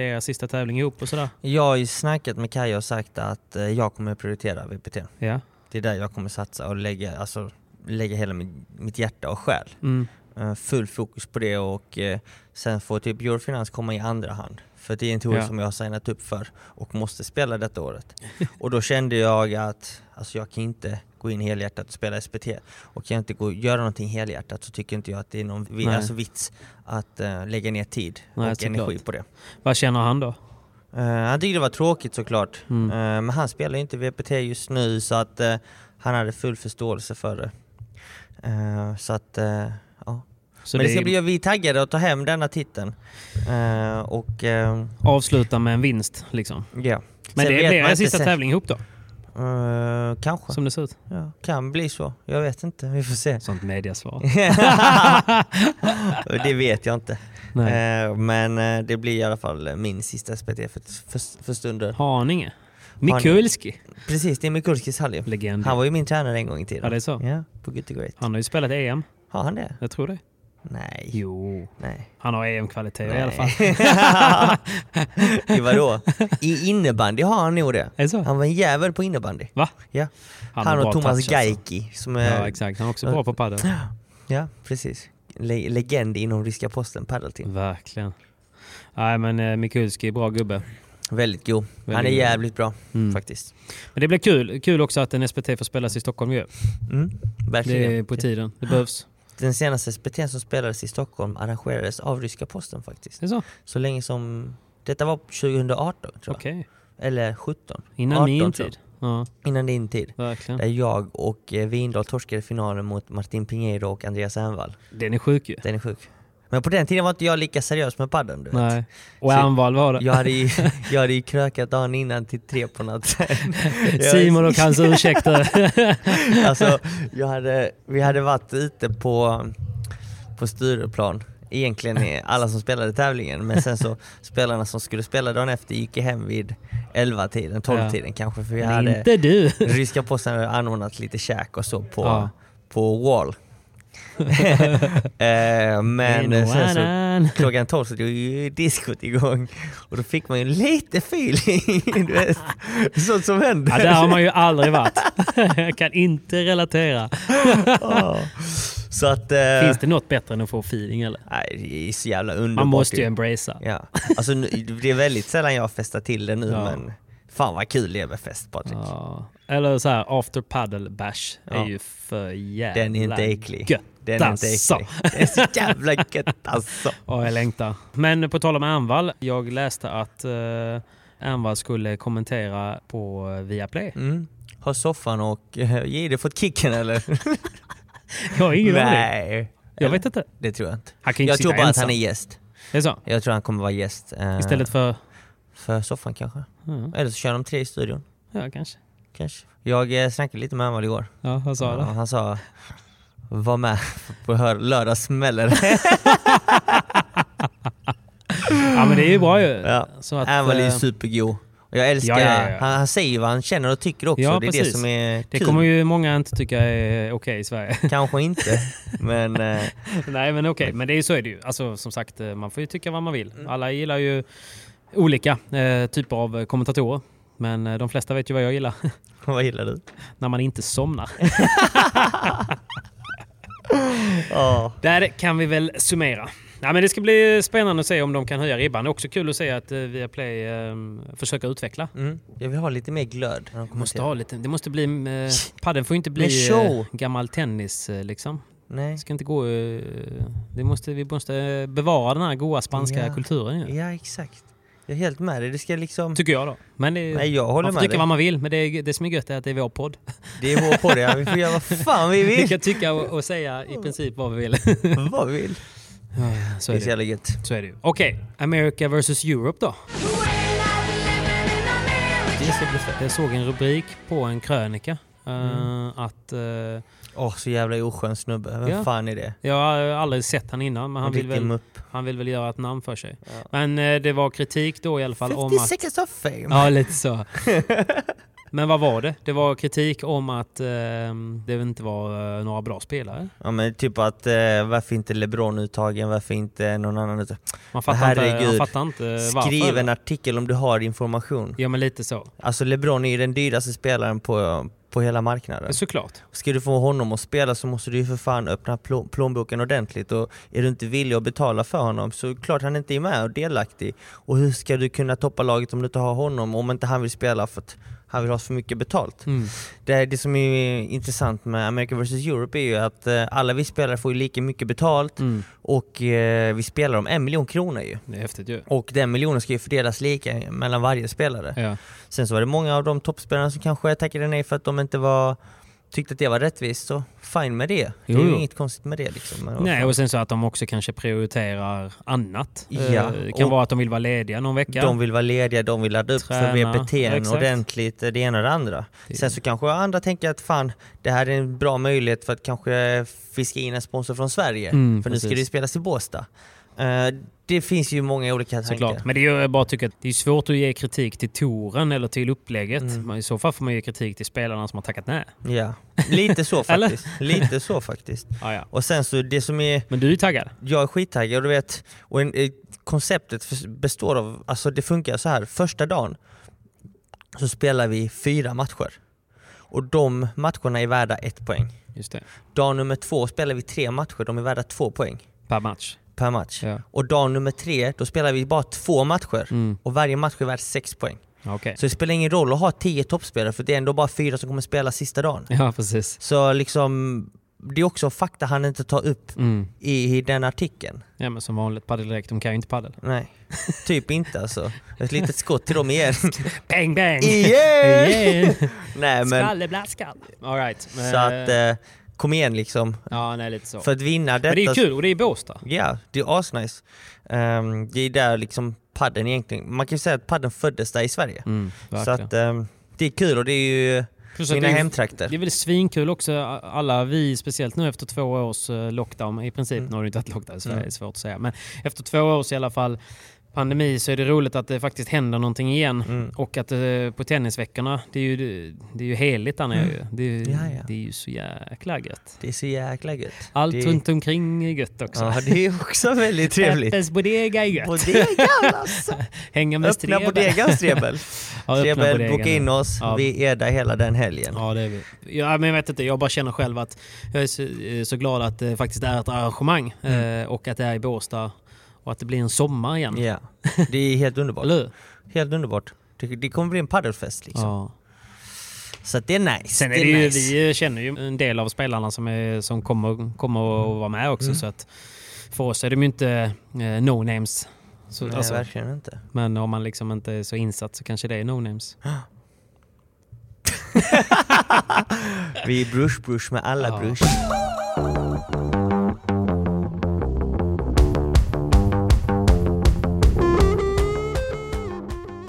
är er sista tävling ihop och sådär? Jag har ju snackat med Kaja och sagt att eh, jag kommer prioritera VPT. Ja. Det är där jag kommer satsa och lägga, alltså, lägga hela min, mitt hjärta och själ. Mm. Eh, Full fokus på det och eh, sen får typ Eurofinans komma i andra hand. För det är en tour Ja. som jag har signat upp för och måste spela detta året. och då kände jag att alltså, jag kan inte gå in helhjärtat och spela SPT. Och kan jag inte gå, göra någonting helhjärtat så tycker inte jag att det är någon vi- Nej. alltså, vits att eh, lägga ner tid Nej, och såklart. energi på det. Vad känner han då? Eh, han tyckte det var tråkigt såklart, Mm. Eh, men han spelar ju inte VPT just nu så att eh, han hade full förståelse för det. Eh, så att, eh, ja. Så men det det ska är- bli, vi är taggade att ta hem denna titeln. Eh, och eh, Avsluta med en vinst liksom. ja. Men Sen det vet blir man er inte sista sen- tävling ihop då? Eh, kanske. Som det ser ut. Ja, kan bli så. Jag vet inte. Vi får se. Sånt mediasvar. det vet jag inte. Nej. Eh, men eh, det blir i alla fall min sista SPT för, för, för stunden. Haninge. Mikulski. Precis, det är Mikulskis Halli. Legend. Han var ju min tränare en gång i tiden. Ja, det är så. Ja, på Good to Great. Han har ju spelat EM. Har han det? Jag tror det. Nej. Jo. Nej. Han har EM-kvaliteter i alla fall. fall. Vadå? I innebandy har han nog det. Är det så? Han var en jävel på innebandy. Va? Ja. har Han, bra och Thomas touch, alltså. Gaiki som är... Ja, exakt. Han är också bra på padel. Ja, precis. Le- legend inom ryska posten padelteam. Verkligen. Nej, men eh, Mikulski, bra gubbe. Väldigt god. han är god. Mm. jävligt bra faktiskt. Men det blir kul. Kul också att en SPT får spelas i Stockholm ju. Mm, verkligen. Det är på tiden. Det behövs. Den senaste SPT som spelades i Stockholm arrangerades av ryska posten faktiskt. Det är så? Så länge som... Detta var 2018 tror jag. Okej. Eller 17. Innan 18, min tror jag. tid. Ja, Innan din tid. verkligen. Där jag och eh, Windahl torskade finalen mot Martin Pinheiro och Andreas Envall. Den är sjuk ju. Den är sjuk. Men på den tiden var inte jag lika seriös med padden du vet. Nej. Och Så- Anvall var det. Jag hade, ju, jag hade ju krökat dagen innan till tre på natten. Jag- Simon och hans ursäkter. Alltså, jag hade, vi hade varit ute på, på Stureplan, egentligen är alla som spelade tävlingen, men sen så spelarna som skulle spela dagen efter gick ju hem vid 11-tiden, 12-tiden kanske, för vi Men hade, inte du. ryska posten hade anordnat lite käk och så på, Ja. på wall. eh, men sen så Annan. klockan 12 så drog ju diskot igång och då fick man ju lite feeling, du vet. Sånt som händer. Ja, där har man ju aldrig varit. Jag kan inte relatera. Eh. Ja. Så att... eh, Finns det något bättre än att få feeling eller? Nej, det är så jävla underbart. Man måste ju ju. embracea. Ja. Alltså, nu, det är väldigt sällan jag festar till det nu Ja. men fan vad kul det är med fest Patrik. Ja. Eller så här, after paddle bash är Ja. ju för jävla Den är inte äcklig. gött Den är inte alltså. äcklig. Det är så jävla gött alltså. Ja, jag längtar. Men på tal om Anvall, jag läste att eh, Anvall skulle kommentera på eh, Viaplay. Mm. Har soffan och eh, Jihde fått kicken eller? Jag har ingen aning. Nej, Jag vet inte. det tror jag inte. Han kan ju inte Jag sitta tror bara att ensam. han är gäst. Det är så? Jag tror han kommer vara gäst. eh, Istället för... för soffan kanske. Ja, Eller så kör de tre i studion. ja kanske. Kanske. Jag eh, snackade lite med Anvald igår. Ja, vad sa Ja, du? han sa var med på hör- lördag smäller Ja, men det är ju bra ju. Ja. Så att, Anvil är ju eh, supergo. Och jag älskar Ja, ja, ja. Han, han säger ju vad han känner och tycker också. Ja, det är precis. det som är det kul. kommer ju många inte tycka är okej i Sverige. Kanske inte, men eh, Nej, men okej. Men det är ju så är det ju. Alltså, som sagt, eh, man får ju tycka vad man vill. Mm. Alla gillar ju olika eh, typer av eh, kommentatorer. Men eh, de flesta vet ju vad jag gillar. vad gillar du? När man inte somnar. Ja, Där kan vi väl summera. Nej, men det ska bli spännande att se om de kan höja ribban. Det är också kul att se att eh, Viaplay eh, försöker utveckla. Mm. Jag vill ha lite mer glöd. när de kommer Måste till. ha lite, det måste bli... Eh, padden får ju inte bli Men show! eh, gammal tennis eh, liksom. Nej. Det ska inte gå... Eh, det måste, vi måste bevara den här goa spanska Ja. kulturen ju. Ja, exakt. Jag är helt med dig. Det ska liksom... Tycker jag då. Men det, Nej, jag håller man får med tycka dig. vad man vill, men det, det som är gött är att det är vår podd. Det är vår podd, ja. Vi får göra vad fan vi Vi vill. kan tycka och, och säga i princip vad vi vill. vad vi vill. Så Det är är så det, jävla gött. så är det ju. Okej, America vs Europe då. Det ska bli fett. Jag såg en rubrik på en krönika. eh, Mm. Att, eh, Åh, så jävla oskön snubbe. Vem Ja. fan är det? jag har aldrig sett han innan, men han Han vill, Riktig väl, mupp. han vill väl göra ett namn för sig. Men eh, det var kritik då i alla fall om att... 56 is of fame. Ja, lite så. Men vad var det? Det var kritik om att eh, det inte var eh, några bra spelare. Ja men typ att eh, varför inte LeBron uttagen, varför inte någon annan uttagen? Man fattar inte, Herregud. man fattar inte eh, varför. Skriv en artikel om du har information. Ja, men lite så. Alltså LeBron är ju den dyraste spelaren på, på hela marknaden. Såklart. Ska du få honom att spela så måste du ju för fan öppna plå- plånboken ordentligt och är du inte villig att betala för honom så är det klart han inte är med och delaktig. Och hur ska du kunna toppa laget om du inte har honom om inte han vill spela för att han vill ha så mycket betalt? Mm. Det, det som är intressant med America vs Europe är ju att eh, alla vi spelare får ju lika mycket betalt Mm. och eh, vi spelar om en miljon kronor ju. Det är häftigt ju. Och den miljonen ska ju fördelas lika mellan varje spelare. Ja. Sen så var det många av de toppspelarna som kanske tackade nej för att de inte var tyckte att det var rättvist, så fine med det. Jo, det är ju jo. inget konstigt med det liksom. Men vad Nej, fan. och sen så att de också kanske prioriterar annat. Eh, Ja, Det kan och- vara att de vill vara lediga någon vecka. De vill vara lediga, de vill ladda upp Träna, för VPT'n exakt. ordentligt, det ena och det andra. Sen så kanske andra tänker att fan, det här är en bra möjlighet för att kanske fiska in en sponsor från Sverige. Mm, för nu ska precis. det ju spelas i Båstad. Eh, det finns ju många olika tankar. Såklart. Men det är ju jag bara tycker att det är svårt att ge kritik till touren eller till upplägget. Mm. Men I så fall får man ge kritik till spelarna som har tackat nej. Ja, lite så Eller? faktiskt. lite så faktiskt. Ah, ja. Och sen så det som är Men du är taggad? jag är skittaggad och du vet, och en, eh, konceptet för- består av, alltså det funkar så här, första dagen så spelar vi fyra matcher. Och de matcherna är värda ett poäng. Just det. Dag nummer två spelar vi tre matcher, de är värda två poäng Per match. per match. Ja. Och dag nummer tre, då spelar vi bara två matcher Mm. och varje match är värd sex poäng. Ja, Okej. Så det spelar ingen roll att ha tio toppspelare för det är ändå bara fyra som kommer spela sista dagen. Ja, precis. Så liksom, det är också fakta han inte tar upp Mm. i, i den artikeln. Ja, men som vanligt. Padel direkt. De kan ju inte padel. Nej, typ inte alltså. Ett litet skott till dem igen. Bang, bang! Igen! Igen! Nej men, Skalleblaskall! All right. så att eh, kom igen liksom. Ja, nej, lite så. För att vinna detta. Men det är kul och det är i Båstad. Ja, det är asnice. Ehm, det är där liksom padden egentligen, man kan ju säga att padden föddes där i Sverige. Mm, så verkligen. att ehm, det är kul och det är ju Plus att mina det är- hemtrakter. Det är väl svinkul också, alla vi, speciellt nu efter två års eh, lockdown, i princip, Mm. nu har det ju inte varit lockdown i Sverige, det är svårt att säga, men efter två års i alla fall pandemi så är det roligt att det faktiskt händer någonting igen Mm. och att eh, på tennisveckorna, det är ju, det är ju heligt där nere ju. det, är ju- Mm. Ja, ja. det är ju så jäkla gött. Det är så jäkla gött. Allt det... runt omkring är gött också. Ja, det är också väldigt trevligt. Peppes bodega är gött. Bodegan alltså! Hänga med Öppna Strebe. bodegan Strebel. Ja, öppna Strebel, bodegan. boka in oss. Ja. Vi är där hela den helgen. Ja, det är vi. Ja, men jag vet inte, jag bara känner själv att jag är så, eh, så glad att det faktiskt är ett arrangemang eh, och att det är i Båstad och att det blir en sommar igen. Mm. Ja, det är helt underbart. Eller hur? Helt underbart. Det, det kommer bli en padelfest liksom. Ja. Så att det är nice. Sen är det ju, nice. vi känner ju en del av spelarna som, är, som kommer, kommer Mm. att vara med också så att för oss är de ju inte eh, no-names. Så, Nej, alltså, verkligen inte. men om man liksom inte är så insatt så kanske det är no-names. Vi är brush brush med alla Ja. brush.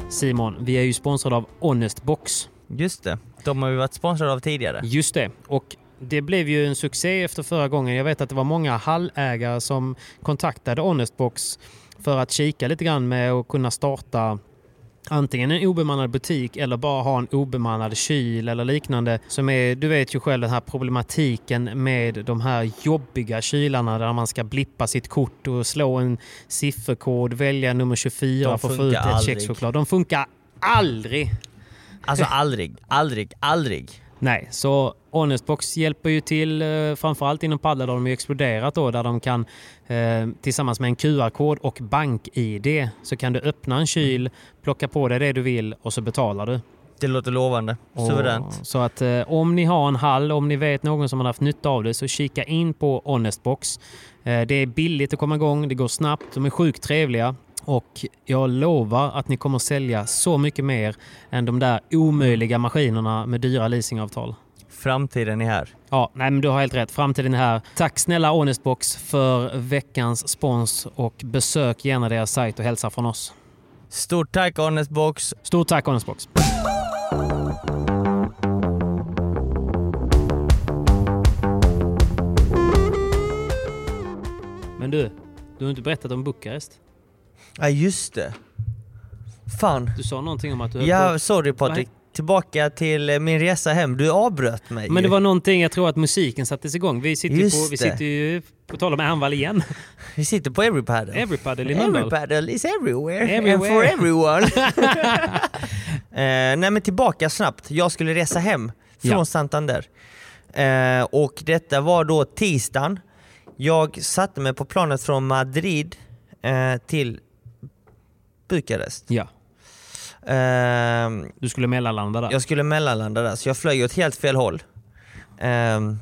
Simon, vi är ju sponsrade av Honest Box. Just det. De har vi varit sponsrade av tidigare. Just det. Och det blev ju en succé efter förra gången. Jag vet att det var många hallägare som kontaktade Honestbox för att kika lite grann med och kunna starta antingen en obemannad butik eller bara ha en obemannad kyl eller liknande. Som är, du vet ju själv den här problematiken med de här jobbiga kylarna där man ska blippa sitt kort och slå en sifferkod, välja nummer 24 De för att få funkar ut ett aldrig. kexchoklad. De funkar aldrig! Alltså aldrig, aldrig, aldrig. Nej, så Honestbox hjälper ju till eh, framförallt inom paddlar där de har ju exploderat då där de kan eh, tillsammans med en QR-kod och bank-id så kan du öppna en kyl, plocka på dig det du vill och så betalar du. Det låter lovande. Suveränt. Och- Så att eh, om ni har en hall, om ni vet någon som har haft nytta av det så kika in på Honestbox. Eh, det är billigt att komma igång, det går snabbt, de är sjukt trevliga och jag lovar att ni kommer sälja så mycket mer än de där omöjliga maskinerna med dyra leasingavtal. Framtiden är här. Ja, nej men du har helt rätt. Framtiden är här. Tack snälla Honestbox för veckans spons och besök gärna deras sajt och hälsa från oss. Stort tack Honestbox. Stort tack Honestbox! Men du, du har inte berättat om Bukarest. Ja just det. Fan. Du sa någonting om att du höll Ja, på- sorry Patrik. Tillbaka till eh, min resa hem. Du avbröt mig Men det ju. var någonting, jag tror att musiken sattes igång. Vi sitter, ju Just på, vi det. sitter ju, på tal om Ärnvall igen, Vi sitter på Everypaddle. Everypaddle i Mölndal. Everypaddle is everywhere, and Everywhere. for everyone. eh, nej men tillbaka snabbt. Jag skulle resa hem från Ja. Santander. Eh, och detta var då tisdagen. Jag satte mig på planet från Madrid eh, till Bukarest. Ja, Eh, du skulle mellanlanda där. jag skulle mellanlanda där, så jag flög åt helt fel håll. Ehm,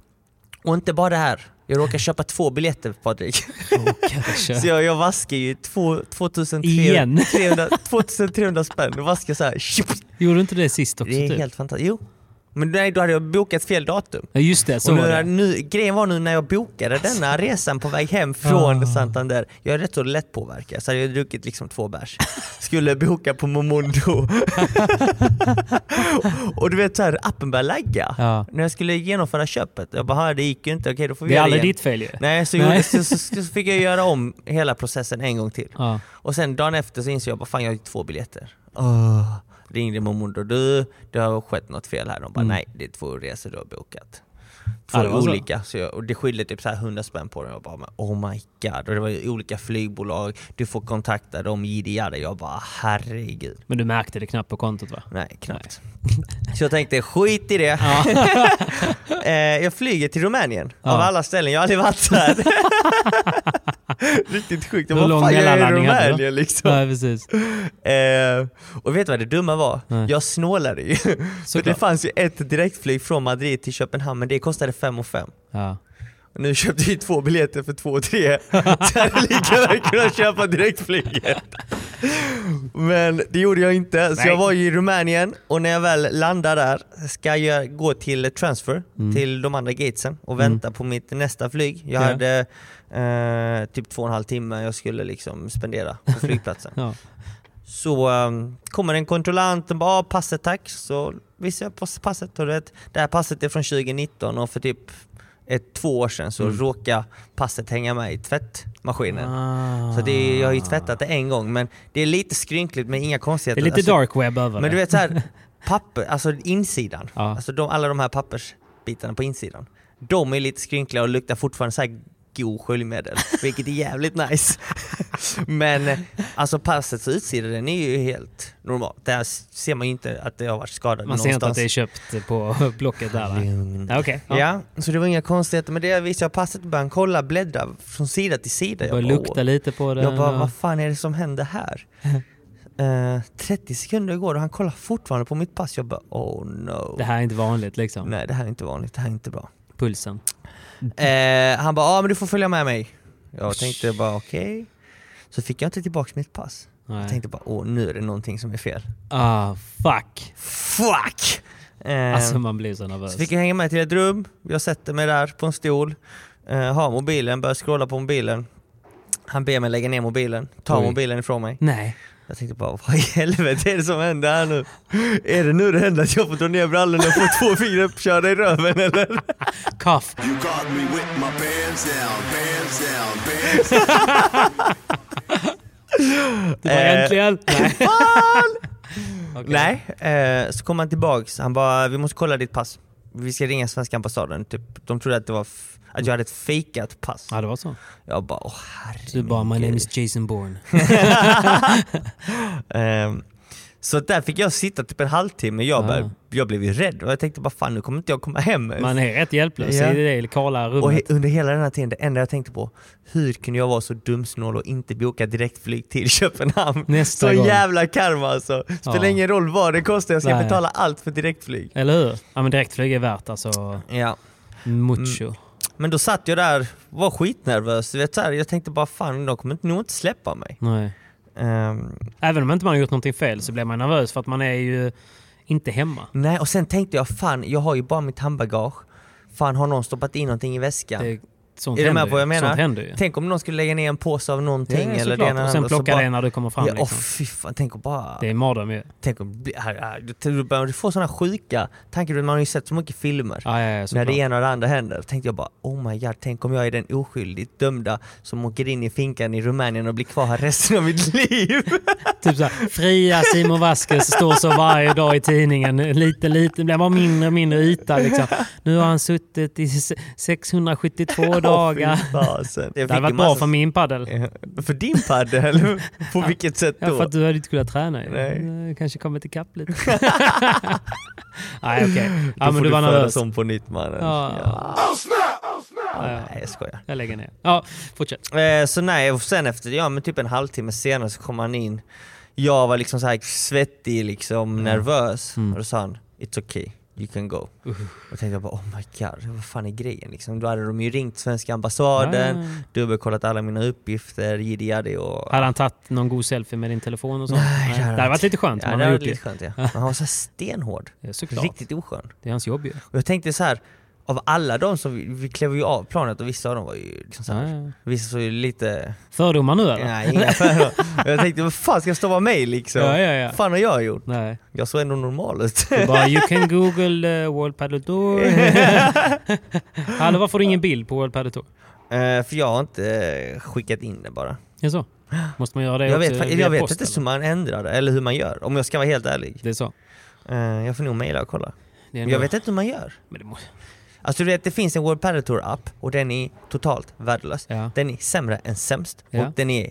och inte bara det här. Jag råkade köpa två biljetter Patrik. Kanske. Så jag, jag vaskar ju två- 2300, Igen. 300, 2300 spänn. Jag vaskar så här. tjup. Gjorde du inte det sist också? Det är typ? helt fantastiskt. Jo. Men nej, då hade jag bokat fel datum. Ja, just det. Så och var nu, det. Nu, grejen var nu när jag bokade denna resan på väg hem från Ah. Santander. Jag är rätt så lättpåverkad så hade jag druckit liksom två bärs. Skulle boka på Momondo. och du vet så här, appen började lagga. Ja. När jag skulle genomföra köpet. Jag bara, "Ah, det gick ju inte. Okej, då får vi Det är göra aldrig igen." ditt fel ju. Nej, så, Nej. gjorde- Så, så, så fick jag göra om hela processen en gång till. Ja. Och sen dagen efter så insåg jag bara fan jag har ju två biljetter. Oh. Ringde mormor och du, det har skett något fel här. De bara nej, det är två resor du har bokat. Två Mm. Ja, det var så. olika. Så jag, och det skiljer typ så här 100 spänn på dem. Jag bara men oh my god. Och det var ju olika flygbolag, du får kontakta dem, jiddi jadda. Jag bara herregud. Men du märkte det knappt på kontot va? Nej, knappt. Så jag tänkte skit i det. Eh, jag flyger till Rumänien av Ja. alla ställen. Jag har aldrig varit där. Riktigt sjukt. Jag Hur bara, lång fan jag är i mellanlandning hade du? Rumänien liksom. Nej, precis. Eh, och vet du vad det dumma var? Nej. Jag snålade ju. För det Såklart. fanns ju ett direktflyg från Madrid till Köpenhamn men det kostade 5 och 5. Ja. Och nu köpte vi två biljetter för 2 och 3. Så jag hade lika väl kunnat köpa direktflyget. Men det gjorde jag inte. Så Nej. jag var ju i Rumänien och när jag väl landar där ska jag gå till transfer till de andra gatesen och vänta på mitt nästa flyg. Jag Mm. Ja. hade eh, typ två och en halv timme jag skulle liksom spendera på flygplatsen. Ja. Så um, kommer en kontrollant och bara "Ah, “passet tack” så visar jag på passet och du vet, det här passet är från 2019 och för typ ett, två år sedan så Mm. råkade passet hänga med i Ah. tvättmaskinen. Så det är, jag har ju tvättat det en gång men det är lite skrynkligt men inga Det konstigheter. är lite Alltså, dark web över Men det. du vet såhär, papper, alltså insidan, Ja. alltså de, alla de här pappersbitarna på insidan. De är lite skrynkliga och luktar fortfarande såhär god sköljmedel, vilket är jävligt nice. Men eh, alltså passets utsida den är ju helt normal. Där ser man ju inte att det har varit skadat Man ser inte att någonstans. det är köpt på Blocket där. va? Lugn. Ja, Okej. Ja. Ja. så det var inga konstigheter med det. Visst, jag har passet ibland, kolla, bläddra från sida till sida. Börjar bara, lukta lite på den. jag bara, och- vad fan är det som händer här? Eh, 30 sekunder går och han kollar fortfarande på mitt pass. Jag bara, oh no. Det här är inte vanligt liksom. Nej, det här är inte vanligt. Det här är inte bra. Pulsen. Eh, han bara, ja ah, men du får följa med mig. Jag tänkte bara, okej. Så fick jag inte tillbaka mitt pass. Jag Nej. tänkte bara, åh nu är det någonting som är fel. Ah, fuck. Fuck! Eh, Alltså man blir så nervös. Så fick jag hänga med till ett rum, jag sätter mig där på en stol, eh, har mobilen, börjar scrolla på mobilen. Han ber mig lägga ner mobilen, tar Oj. mobilen ifrån mig. Nej. Jag tänkte bara, vad i helvete är det som händer här nu? Är det nu det händer att jag får dra ner brallorna och få två fingrar uppkörda i röven eller? Cuff. You caught me with my pants down, pants down, pants down. Det var Eh. äntligen. Nej. Okej. Nej, eh, så kom han tillbaks, han bara, vi måste kolla ditt pass. Vi ska ringa svenska ambassaden, typ. de trodde att, det var f- att jag hade ett fejkat pass. Ja, det var så. Jag bara, åh Du herregud. bara, my name is Jason Bourne. Ehm, Så där fick jag sitta typ en halvtimme. Jag, Ah. började, jag blev ju rädd och jag tänkte bara fan nu kommer inte jag komma hem. Man är rätt hjälplös Ja. i det kala och he- rummet. under hela den här tiden, det enda jag tänkte på, hur kunde jag vara så dumsnål och inte boka direktflyg till Köpenhamn? Nästa så gång. jävla karma alltså. Spelar Ja. ingen roll vad det kostar, jag ska Nej. betala allt för direktflyg. Eller hur? Ja men direktflyg är värt alltså Ja. mucho. Men då satt jag där, var skitnervös. Du Vet, så här, jag tänkte bara fan, de kommer nog inte släppa mig. Nej. Ehm, Även om inte man har gjort någonting fel så blir man nervös för att man är ju inte hemma. nej, och sen tänkte jag fan, jag har ju bara mitt handbagage. Fan, har någon stoppat in någonting i väskan? Det, sånt är du händer med på vad jag ju. menar? Sånt händer ju. Tänk om någon skulle lägga ner en påse av någonting Ja, eller såklart. ena Och sen andra, så plocka bara- det när du kommer fram. Ja, åh, liksom. fy fan, tänk att bara... Det är en mardröm ju. Tänk att bli, här, här, du- du börjar få sådana sjuka tankar, du vet, man har ju sett så mycket filmer. Ja, ja, ja, när såklart. det ena och det andra händer, tänkte jag bara oh my god, tänk om jag är den oskyldigt dömda som åker in i finkan i Rumänien och blir kvar här resten av mitt liv. Typ såhär, fria Simon Vasquez står så varje dag i tidningen. Lite, lite, blir bara mindre och mindre yta liksom. Nu har han suttit i se- 672 dagar. Åh, fy fasen. Det hade varit bra för min paddel. min... För din padel? På vilket sätt Ja, då? för att du hade inte kunnat träna ju. Nej. Du kanske kommit ikapp lite. Nej, okej. Då Ja, men får du var födas nervös. om på nytt mannen. Ja. Nej, jag skojar. Jag lägger ner. Ja, fortsätt. Eh, så nej, och sen efter, ja men typ en halvtimme senare så kom han in. Jag var liksom så här svettig, liksom Mm. nervös. Och då sa han “It's okay, you can go”. Och då tänkte jag bara “Oh my god, vad fan är grejen?” liksom, Då hade de ju ringt svenska ambassaden, Ja, ja, ja. dubbelkollat alla mina uppgifter, jiddi jaddi och... Hade han tagit någon god selfie med din telefon och sånt? Nej, det hade varit lite skönt. om Ja, han det hade hade gjort varit lite skönt ja. Men han var så här stenhård. Ja, såklart. Riktigt oskön. Det är hans jobb ju. Och jag tänkte så här av alla de som, vi, vi klev ju av planet och vissa av dem var ju liksom så här, Ah, Ja, ja. vissa såg ju lite Fördomar nu eller? Nej, inga affärer. Jag tänkte, vad fan ska jag stava mig liksom? Ja, ja, ja. Vad fan har jag gjort? Nej. Jag såg ändå normal ut. Du bara, you can google uh, World Padel Tour. Hallå, varför har du ingen bild på World Padel Tour? Eh, För jag har inte eh, skickat in det bara. Ja, så. Måste man göra det Jag också vet, fa- via jag vet post, inte eller? hur man ändrar det, eller hur man gör. Om jag ska vara helt ärlig. Det är så. Eh, Jag får nog mejla och kolla. Det är Men jag nog- vet inte hur man gör. Men det må... Alltså du vet, det finns en World Padel Tour app och den är totalt värdelös. Ja. Den är sämre än sämst. Ja. Och den är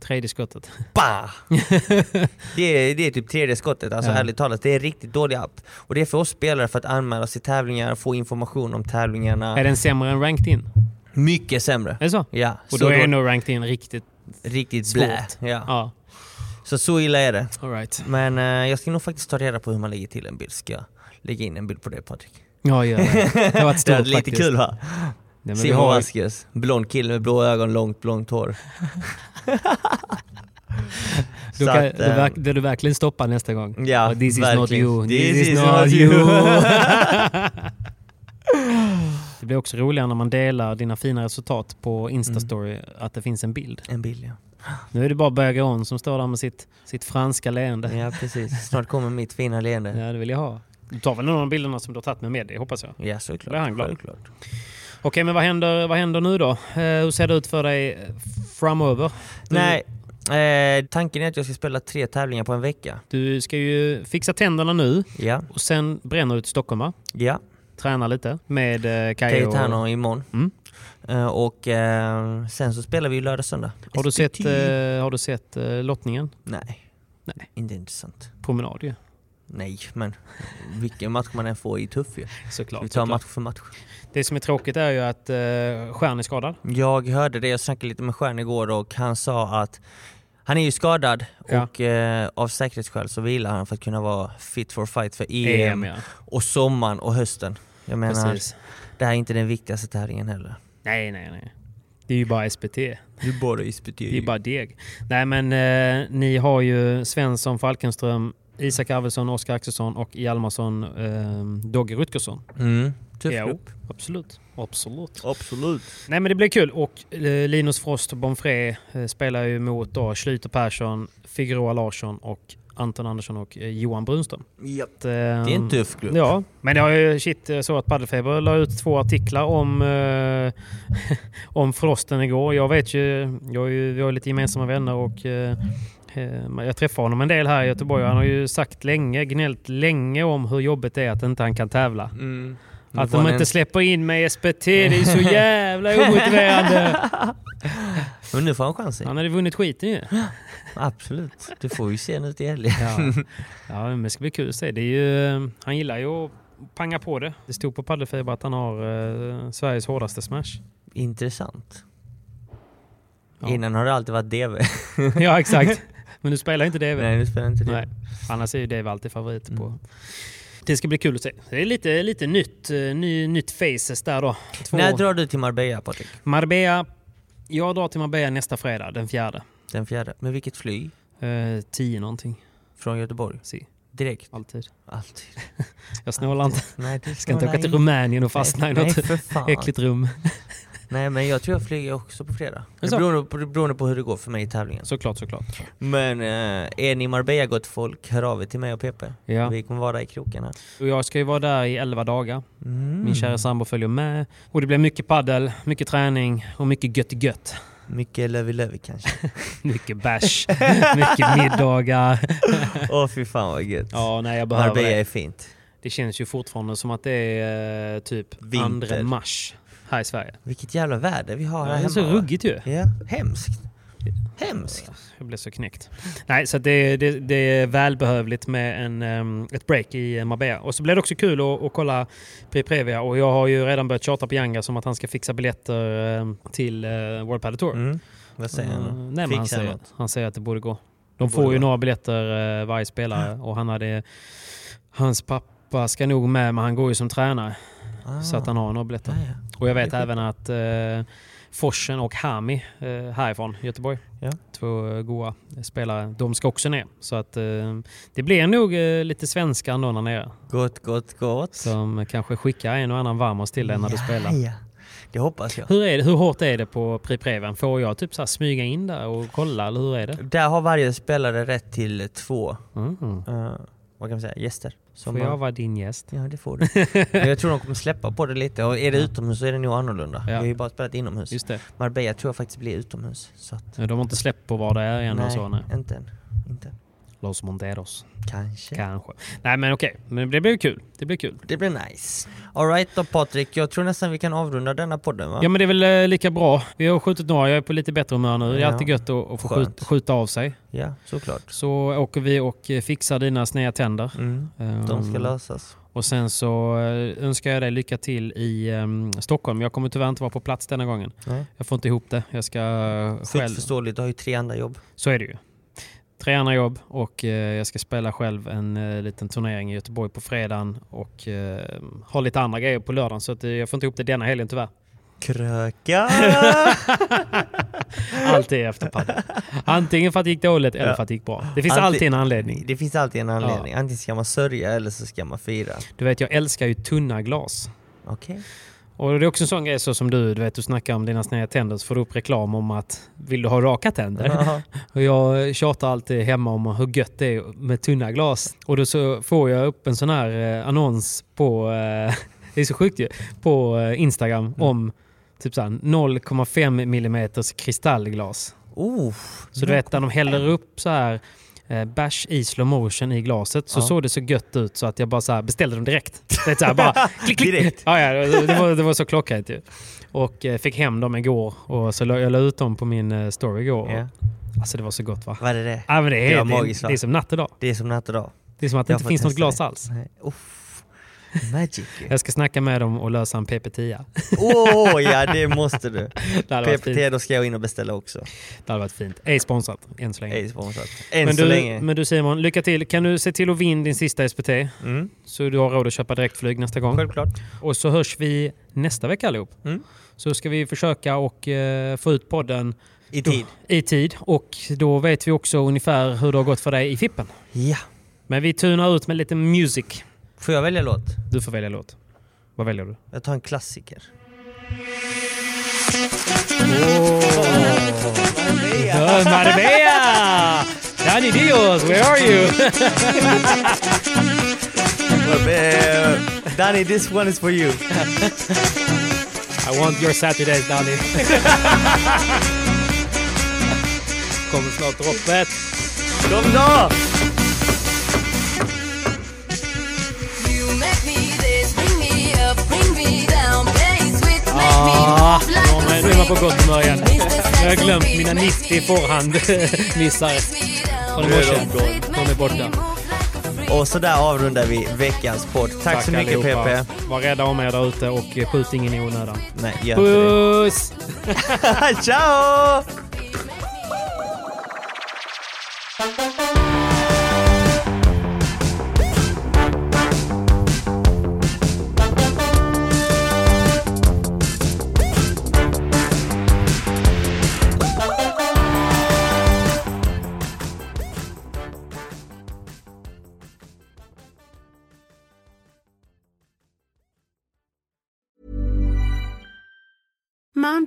Tredje skottet. Bah! det, är, det är typ tredje skottet, alltså Ja. ärligt talat. Det är en riktigt dålig app. Och det är för oss spelare för att anmäla oss till tävlingar, få information om tävlingarna. Är den sämre än ranked in? Mycket sämre. Är det så? Ja, Och så då är då- nog ranked in riktigt riktigt svårt. blä. Ja. Ja. Så så illa är det. All right. Men eh, jag ska nog faktiskt ta reda på hur man lägger till en bild. Ska jag lägga in en bild på det Patrik? Ja, gör det. Det har varit Det stort är lite faktiskt. kul va? Nej, men vi Simon har... Vasquez, blond kille med blå ögon, långt blont hår. Du Så kan, att, du eh, verk, det du verkligen stoppar nästa gång. Ja, Och This is not verkligen. you. This, is, not, you. det blir också roligare när man delar dina fina resultat på Instastory, att det finns en bild. eh, en bild ja. Nu är det bara Bergeron som står där med sitt, sitt franska leende. Ja precis, snart kommer mitt fina leende. Ja, det vill jag ha. Du tar väl någon av bilderna som du har tagit med med dig, hoppas jag. Ja, såklart. Blir han glad? Självklart. Okej, men vad händer, vad händer nu då? Eh, hur ser det ut för dig eh, framöver? Du, Nej, eh, tanken är att jag ska spela tre tävlingar på en vecka. Du ska ju fixa tänderna nu Ja, och sen bränner du till Stockholm, va? ja. Träna lite med eh, Kaj och... Cayetano imorgon. Mm. Eh, och eh, sen så spelar vi ju lördag söndag. Har du sett, SPT? eh, har du sett eh, lottningen? Nej. Nej. Inte intressant. Promenad ju. Nej, men vilken match man än får är tuff ju. Vi Såklart. tar såklart. match för match. Det som är tråkigt är ju att eh, Stjärn är skadad. Jag hörde det, jag snackade lite med Stjärn igår och han sa att han är ju skadad Ja. och eh, av säkerhetsskäl så vilar han för att kunna vara fit for fight för EM, E ja. och sommaren och hösten. Jag menar, Precis. det här är inte den viktigaste tävlingen heller. Nej, nej, nej. Det är ju bara SPT. Det är bara SPT. Det är bara deg. Nej, men eh, ni har ju Svensson, Falkenström, Isak Arvidsson, Oskar Axelsson och Hjalmarsson, eh, Dogge Rutgersson. Mm. Tuff Jo, grupp. Absolut. Absolut. Absolut. Nej men det blir kul och eh, Linus Frost och Bonfré eh, spelar ju mot då Schlüter Persson, Figueroa Larsson och Anton Andersson och eh, Johan Brunström. Japp. Det Det är en tuff grupp. Ja, men det har ju shit jag såg att Paddelfeber la ut två artiklar om, eh, om Frosten igår. Jag vet ju, jag är ju vi har ju lite gemensamma vänner och eh, eh, jag träffar honom en del här i Göteborg. Han har ju sagt länge, gnällt länge om hur jobbigt det är att inte han kan tävla. Mm. Att får de han inte en- släpper in mig i SPT, det är så jävla omotiverande. Men nu får han chansen. Han hade vunnit skiten ju. Absolut. Du får ju se nu till helgen. Ja. ja, men det ska bli kul att se. Det är ju, eh, han gillar ju att panga på det. Det stod på Padelfiber att han har eh, Sveriges hårdaste smash. Intressant. Ja. Innan har det alltid varit DV. ja, exakt. Men du spelar inte det väl? Nej, nu spelar inte det. Nej. Annars är ju Dave alltid favorit på. Det ska bli kul att se. Det är lite, lite nytt, eh, ny, nytt faces där då. Två. När drar du till Marbella, Patrik? Marbella. Jag drar till Marbella nästa fredag, den fjärde. Den fjärde. Med vilket flyg? Eh, tio någonting. Från Göteborg? Si, Direkt? alltid. Alltid. Jag snålar inte. Nej, det Ska inte åka till Nej. Rumänien och fastna i Nej, något för fan. äckligt rum. Nej, men jag tror jag flyger också på fredag. Det så? beror på, beroende på hur det går för mig i tävlingen. Såklart, såklart. Men eh, är ni i Marbella gott folk, hör av er till mig och Pepe. Ja. Vi kommer vara i krokarna. Och jag ska ju vara där i 11 dagar. Min kära sambo följer med. Och det blir mycket paddel, mycket träning och mycket gött gött. Mycket Lövi-Lövi kanske. Mycket bärs, mycket middagar. Åh fy fan vad gött. Ja, nej jag behöver Marbella är det. fint. Det känns ju fortfarande som att det är eh, typ Vinter. 2 mars här i Sverige. Vilket jävla väder vi har Det här är hemma. så va? ruggigt ju. Ja, hemskt. Hemskt. Jag blev så knäckt. Nej, så att det, det, det är välbehövligt med en, ehm, ett break i Marbella. Och så blir det också kul att, att kolla Prix Previa. Och jag har ju redan börjat tjata på Janga som att han ska fixa biljetter ehm, till eh, World Padel Tour. Mm. Vad säger Eh, han? nej, men han, Fixar säger, något. han säger att det borde gå. De borde får ju gå. några biljetter eh, varje spelare och han hade... Hans pappa ska nog med, men han går ju som tränare. Ah. Så att han har några biljetter. Ja, ja. Och jag vet Det är även att eh, Forsen och Hami eh, härifrån Göteborg, Ja. två eh, goa spelare, de ska också ner. Så att eh, det blir nog eh, lite svenska ändå där nere. Gott, gott, gott. Som kanske skickar en och annan varmos till dig när du Ja, spelar. Ja. Det hoppas jag. Hur, är det, hur hårt är det på Prix Preven? Får jag typ så här smyga in där och kolla eller hur är det? Där har varje spelare rätt till två, Mm. eh, vad kan man säga, gäster. Som Får jag man- vara din gäst? Ja, det får du. Men jag tror de kommer släppa på det lite. Och är det utomhus så är det nog annorlunda. Vi har ju bara spelat inomhus. Just det. Marbella tror jag faktiskt blir utomhus. Så att, De har inte släppt på vad det är än och så. Nej. inte än. Inte än. Los Monteros, Kanske. kanske. Nej men okej, men det blir kul. Det blir kul. Det blir nice. Alright då Patrik, jag tror nästan vi kan avrunda denna podden va? Ja men det är väl eh, lika bra. Vi har skjutit några, jag är på lite bättre humör nu. Det är Ja. alltid gött att, att få Skönt. skjuta, skjuta av sig. Ja, såklart. Så åker vi och eh, fixar dina sneda tänder. Mm. De ska Ehm, lösas. och sen så eh, önskar jag dig lycka till i ehm, Stockholm. Jag kommer tyvärr inte vara på plats denna gången. Nej. Jag får inte ihop det. Jag ska eh, Fullt själv. förståeligt, du har ju tre andra jobb. Så är det ju. Tre andra jobb och eh, jag ska spela själv en eh, liten turnering i Göteborg på fredagen och eh, ha lite andra grejer på lördagen så att, eh, jag får inte ihop det denna helgen tyvärr. Kröka! Alltid efter padel. Antingen för att det gick dåligt eller Ja. för att det gick bra. Det finns Alltid- alltid en anledning. det finns alltid en anledning. Antingen ska man sörja eller så ska man fira. Du vet, jag älskar ju tunna glas. Okej? Och det är också en sån grej så som du, du vet, du snackar om dina sneda tänder så får du upp reklam om att vill du ha raka tänder? Ja. Och jag tjatar alltid hemma om hur gött det är med tunna glas. Och då så får jag upp en sån här eh, annons på, eh, det är så sjukt ju, på eh, Instagram om typ så här 0,5 millimeters kristallglas. Oh, Så du vet när de häller upp så här eh, bärs i slow motion i glaset så Ja. såg det så gött ut så att jag bara så här beställde dem direkt. Det är så här, bara klick, klick. Direkt. Ja, ja, det, det, var, det var så klockrent ju. Och eh, fick hem dem igår och så la, jag la ut dem på min eh, story igår. Ja. Alltså det var så gott va? Vad är det? Ja, men det, är, Det det, var är magiskt, va? det är som natt och dag. Det är som natt och dag. Det är som att det Jag inte får finns något testa glas det. alls. Nej. Uff. Magic ju. Jag ska snacka med dem och lösa en PP10. Åh ja, det måste du. Det hade varit fint. PPT, då ska jag in och beställa också. Det hade varit fint. Ej sponsrat än så länge. Ej sponsrat. Än men, så du, länge. men du Simon, lycka till. Kan du se till att vinna din sista SPT? Mm. Så du har råd att köpa direktflyg nästa gång. Självklart. Och så hörs vi nästa vecka allihop. Mm. Så ska vi försöka och eh, få ut podden I tid. i tid. Och då vet vi också ungefär hur det har gått för dig i Fippen. Ja. Men vi tunar ut med lite music. Får jag välja låt? Du får välja låt. Vad väljer du? Jag tar en klassiker. Uh, Marbella! Danny Dios, where are you? Eh, Danny, this one is for you. I want your Saturdays, Danny. Kommer snart droppet. Kom då! You make me this, bring me up, bring Ah, ja, nu är man på gott humör igen. Jag har glömt mina 90 förhand-missar från i Nu är morse. de De är borta. Och så där avrundar vi veckans podd. Tack, så mycket allihopa. PP. Var rädda om er där ute och skjut ingen i onödan. Nej, gör inte det. Puss! Ciao! Mom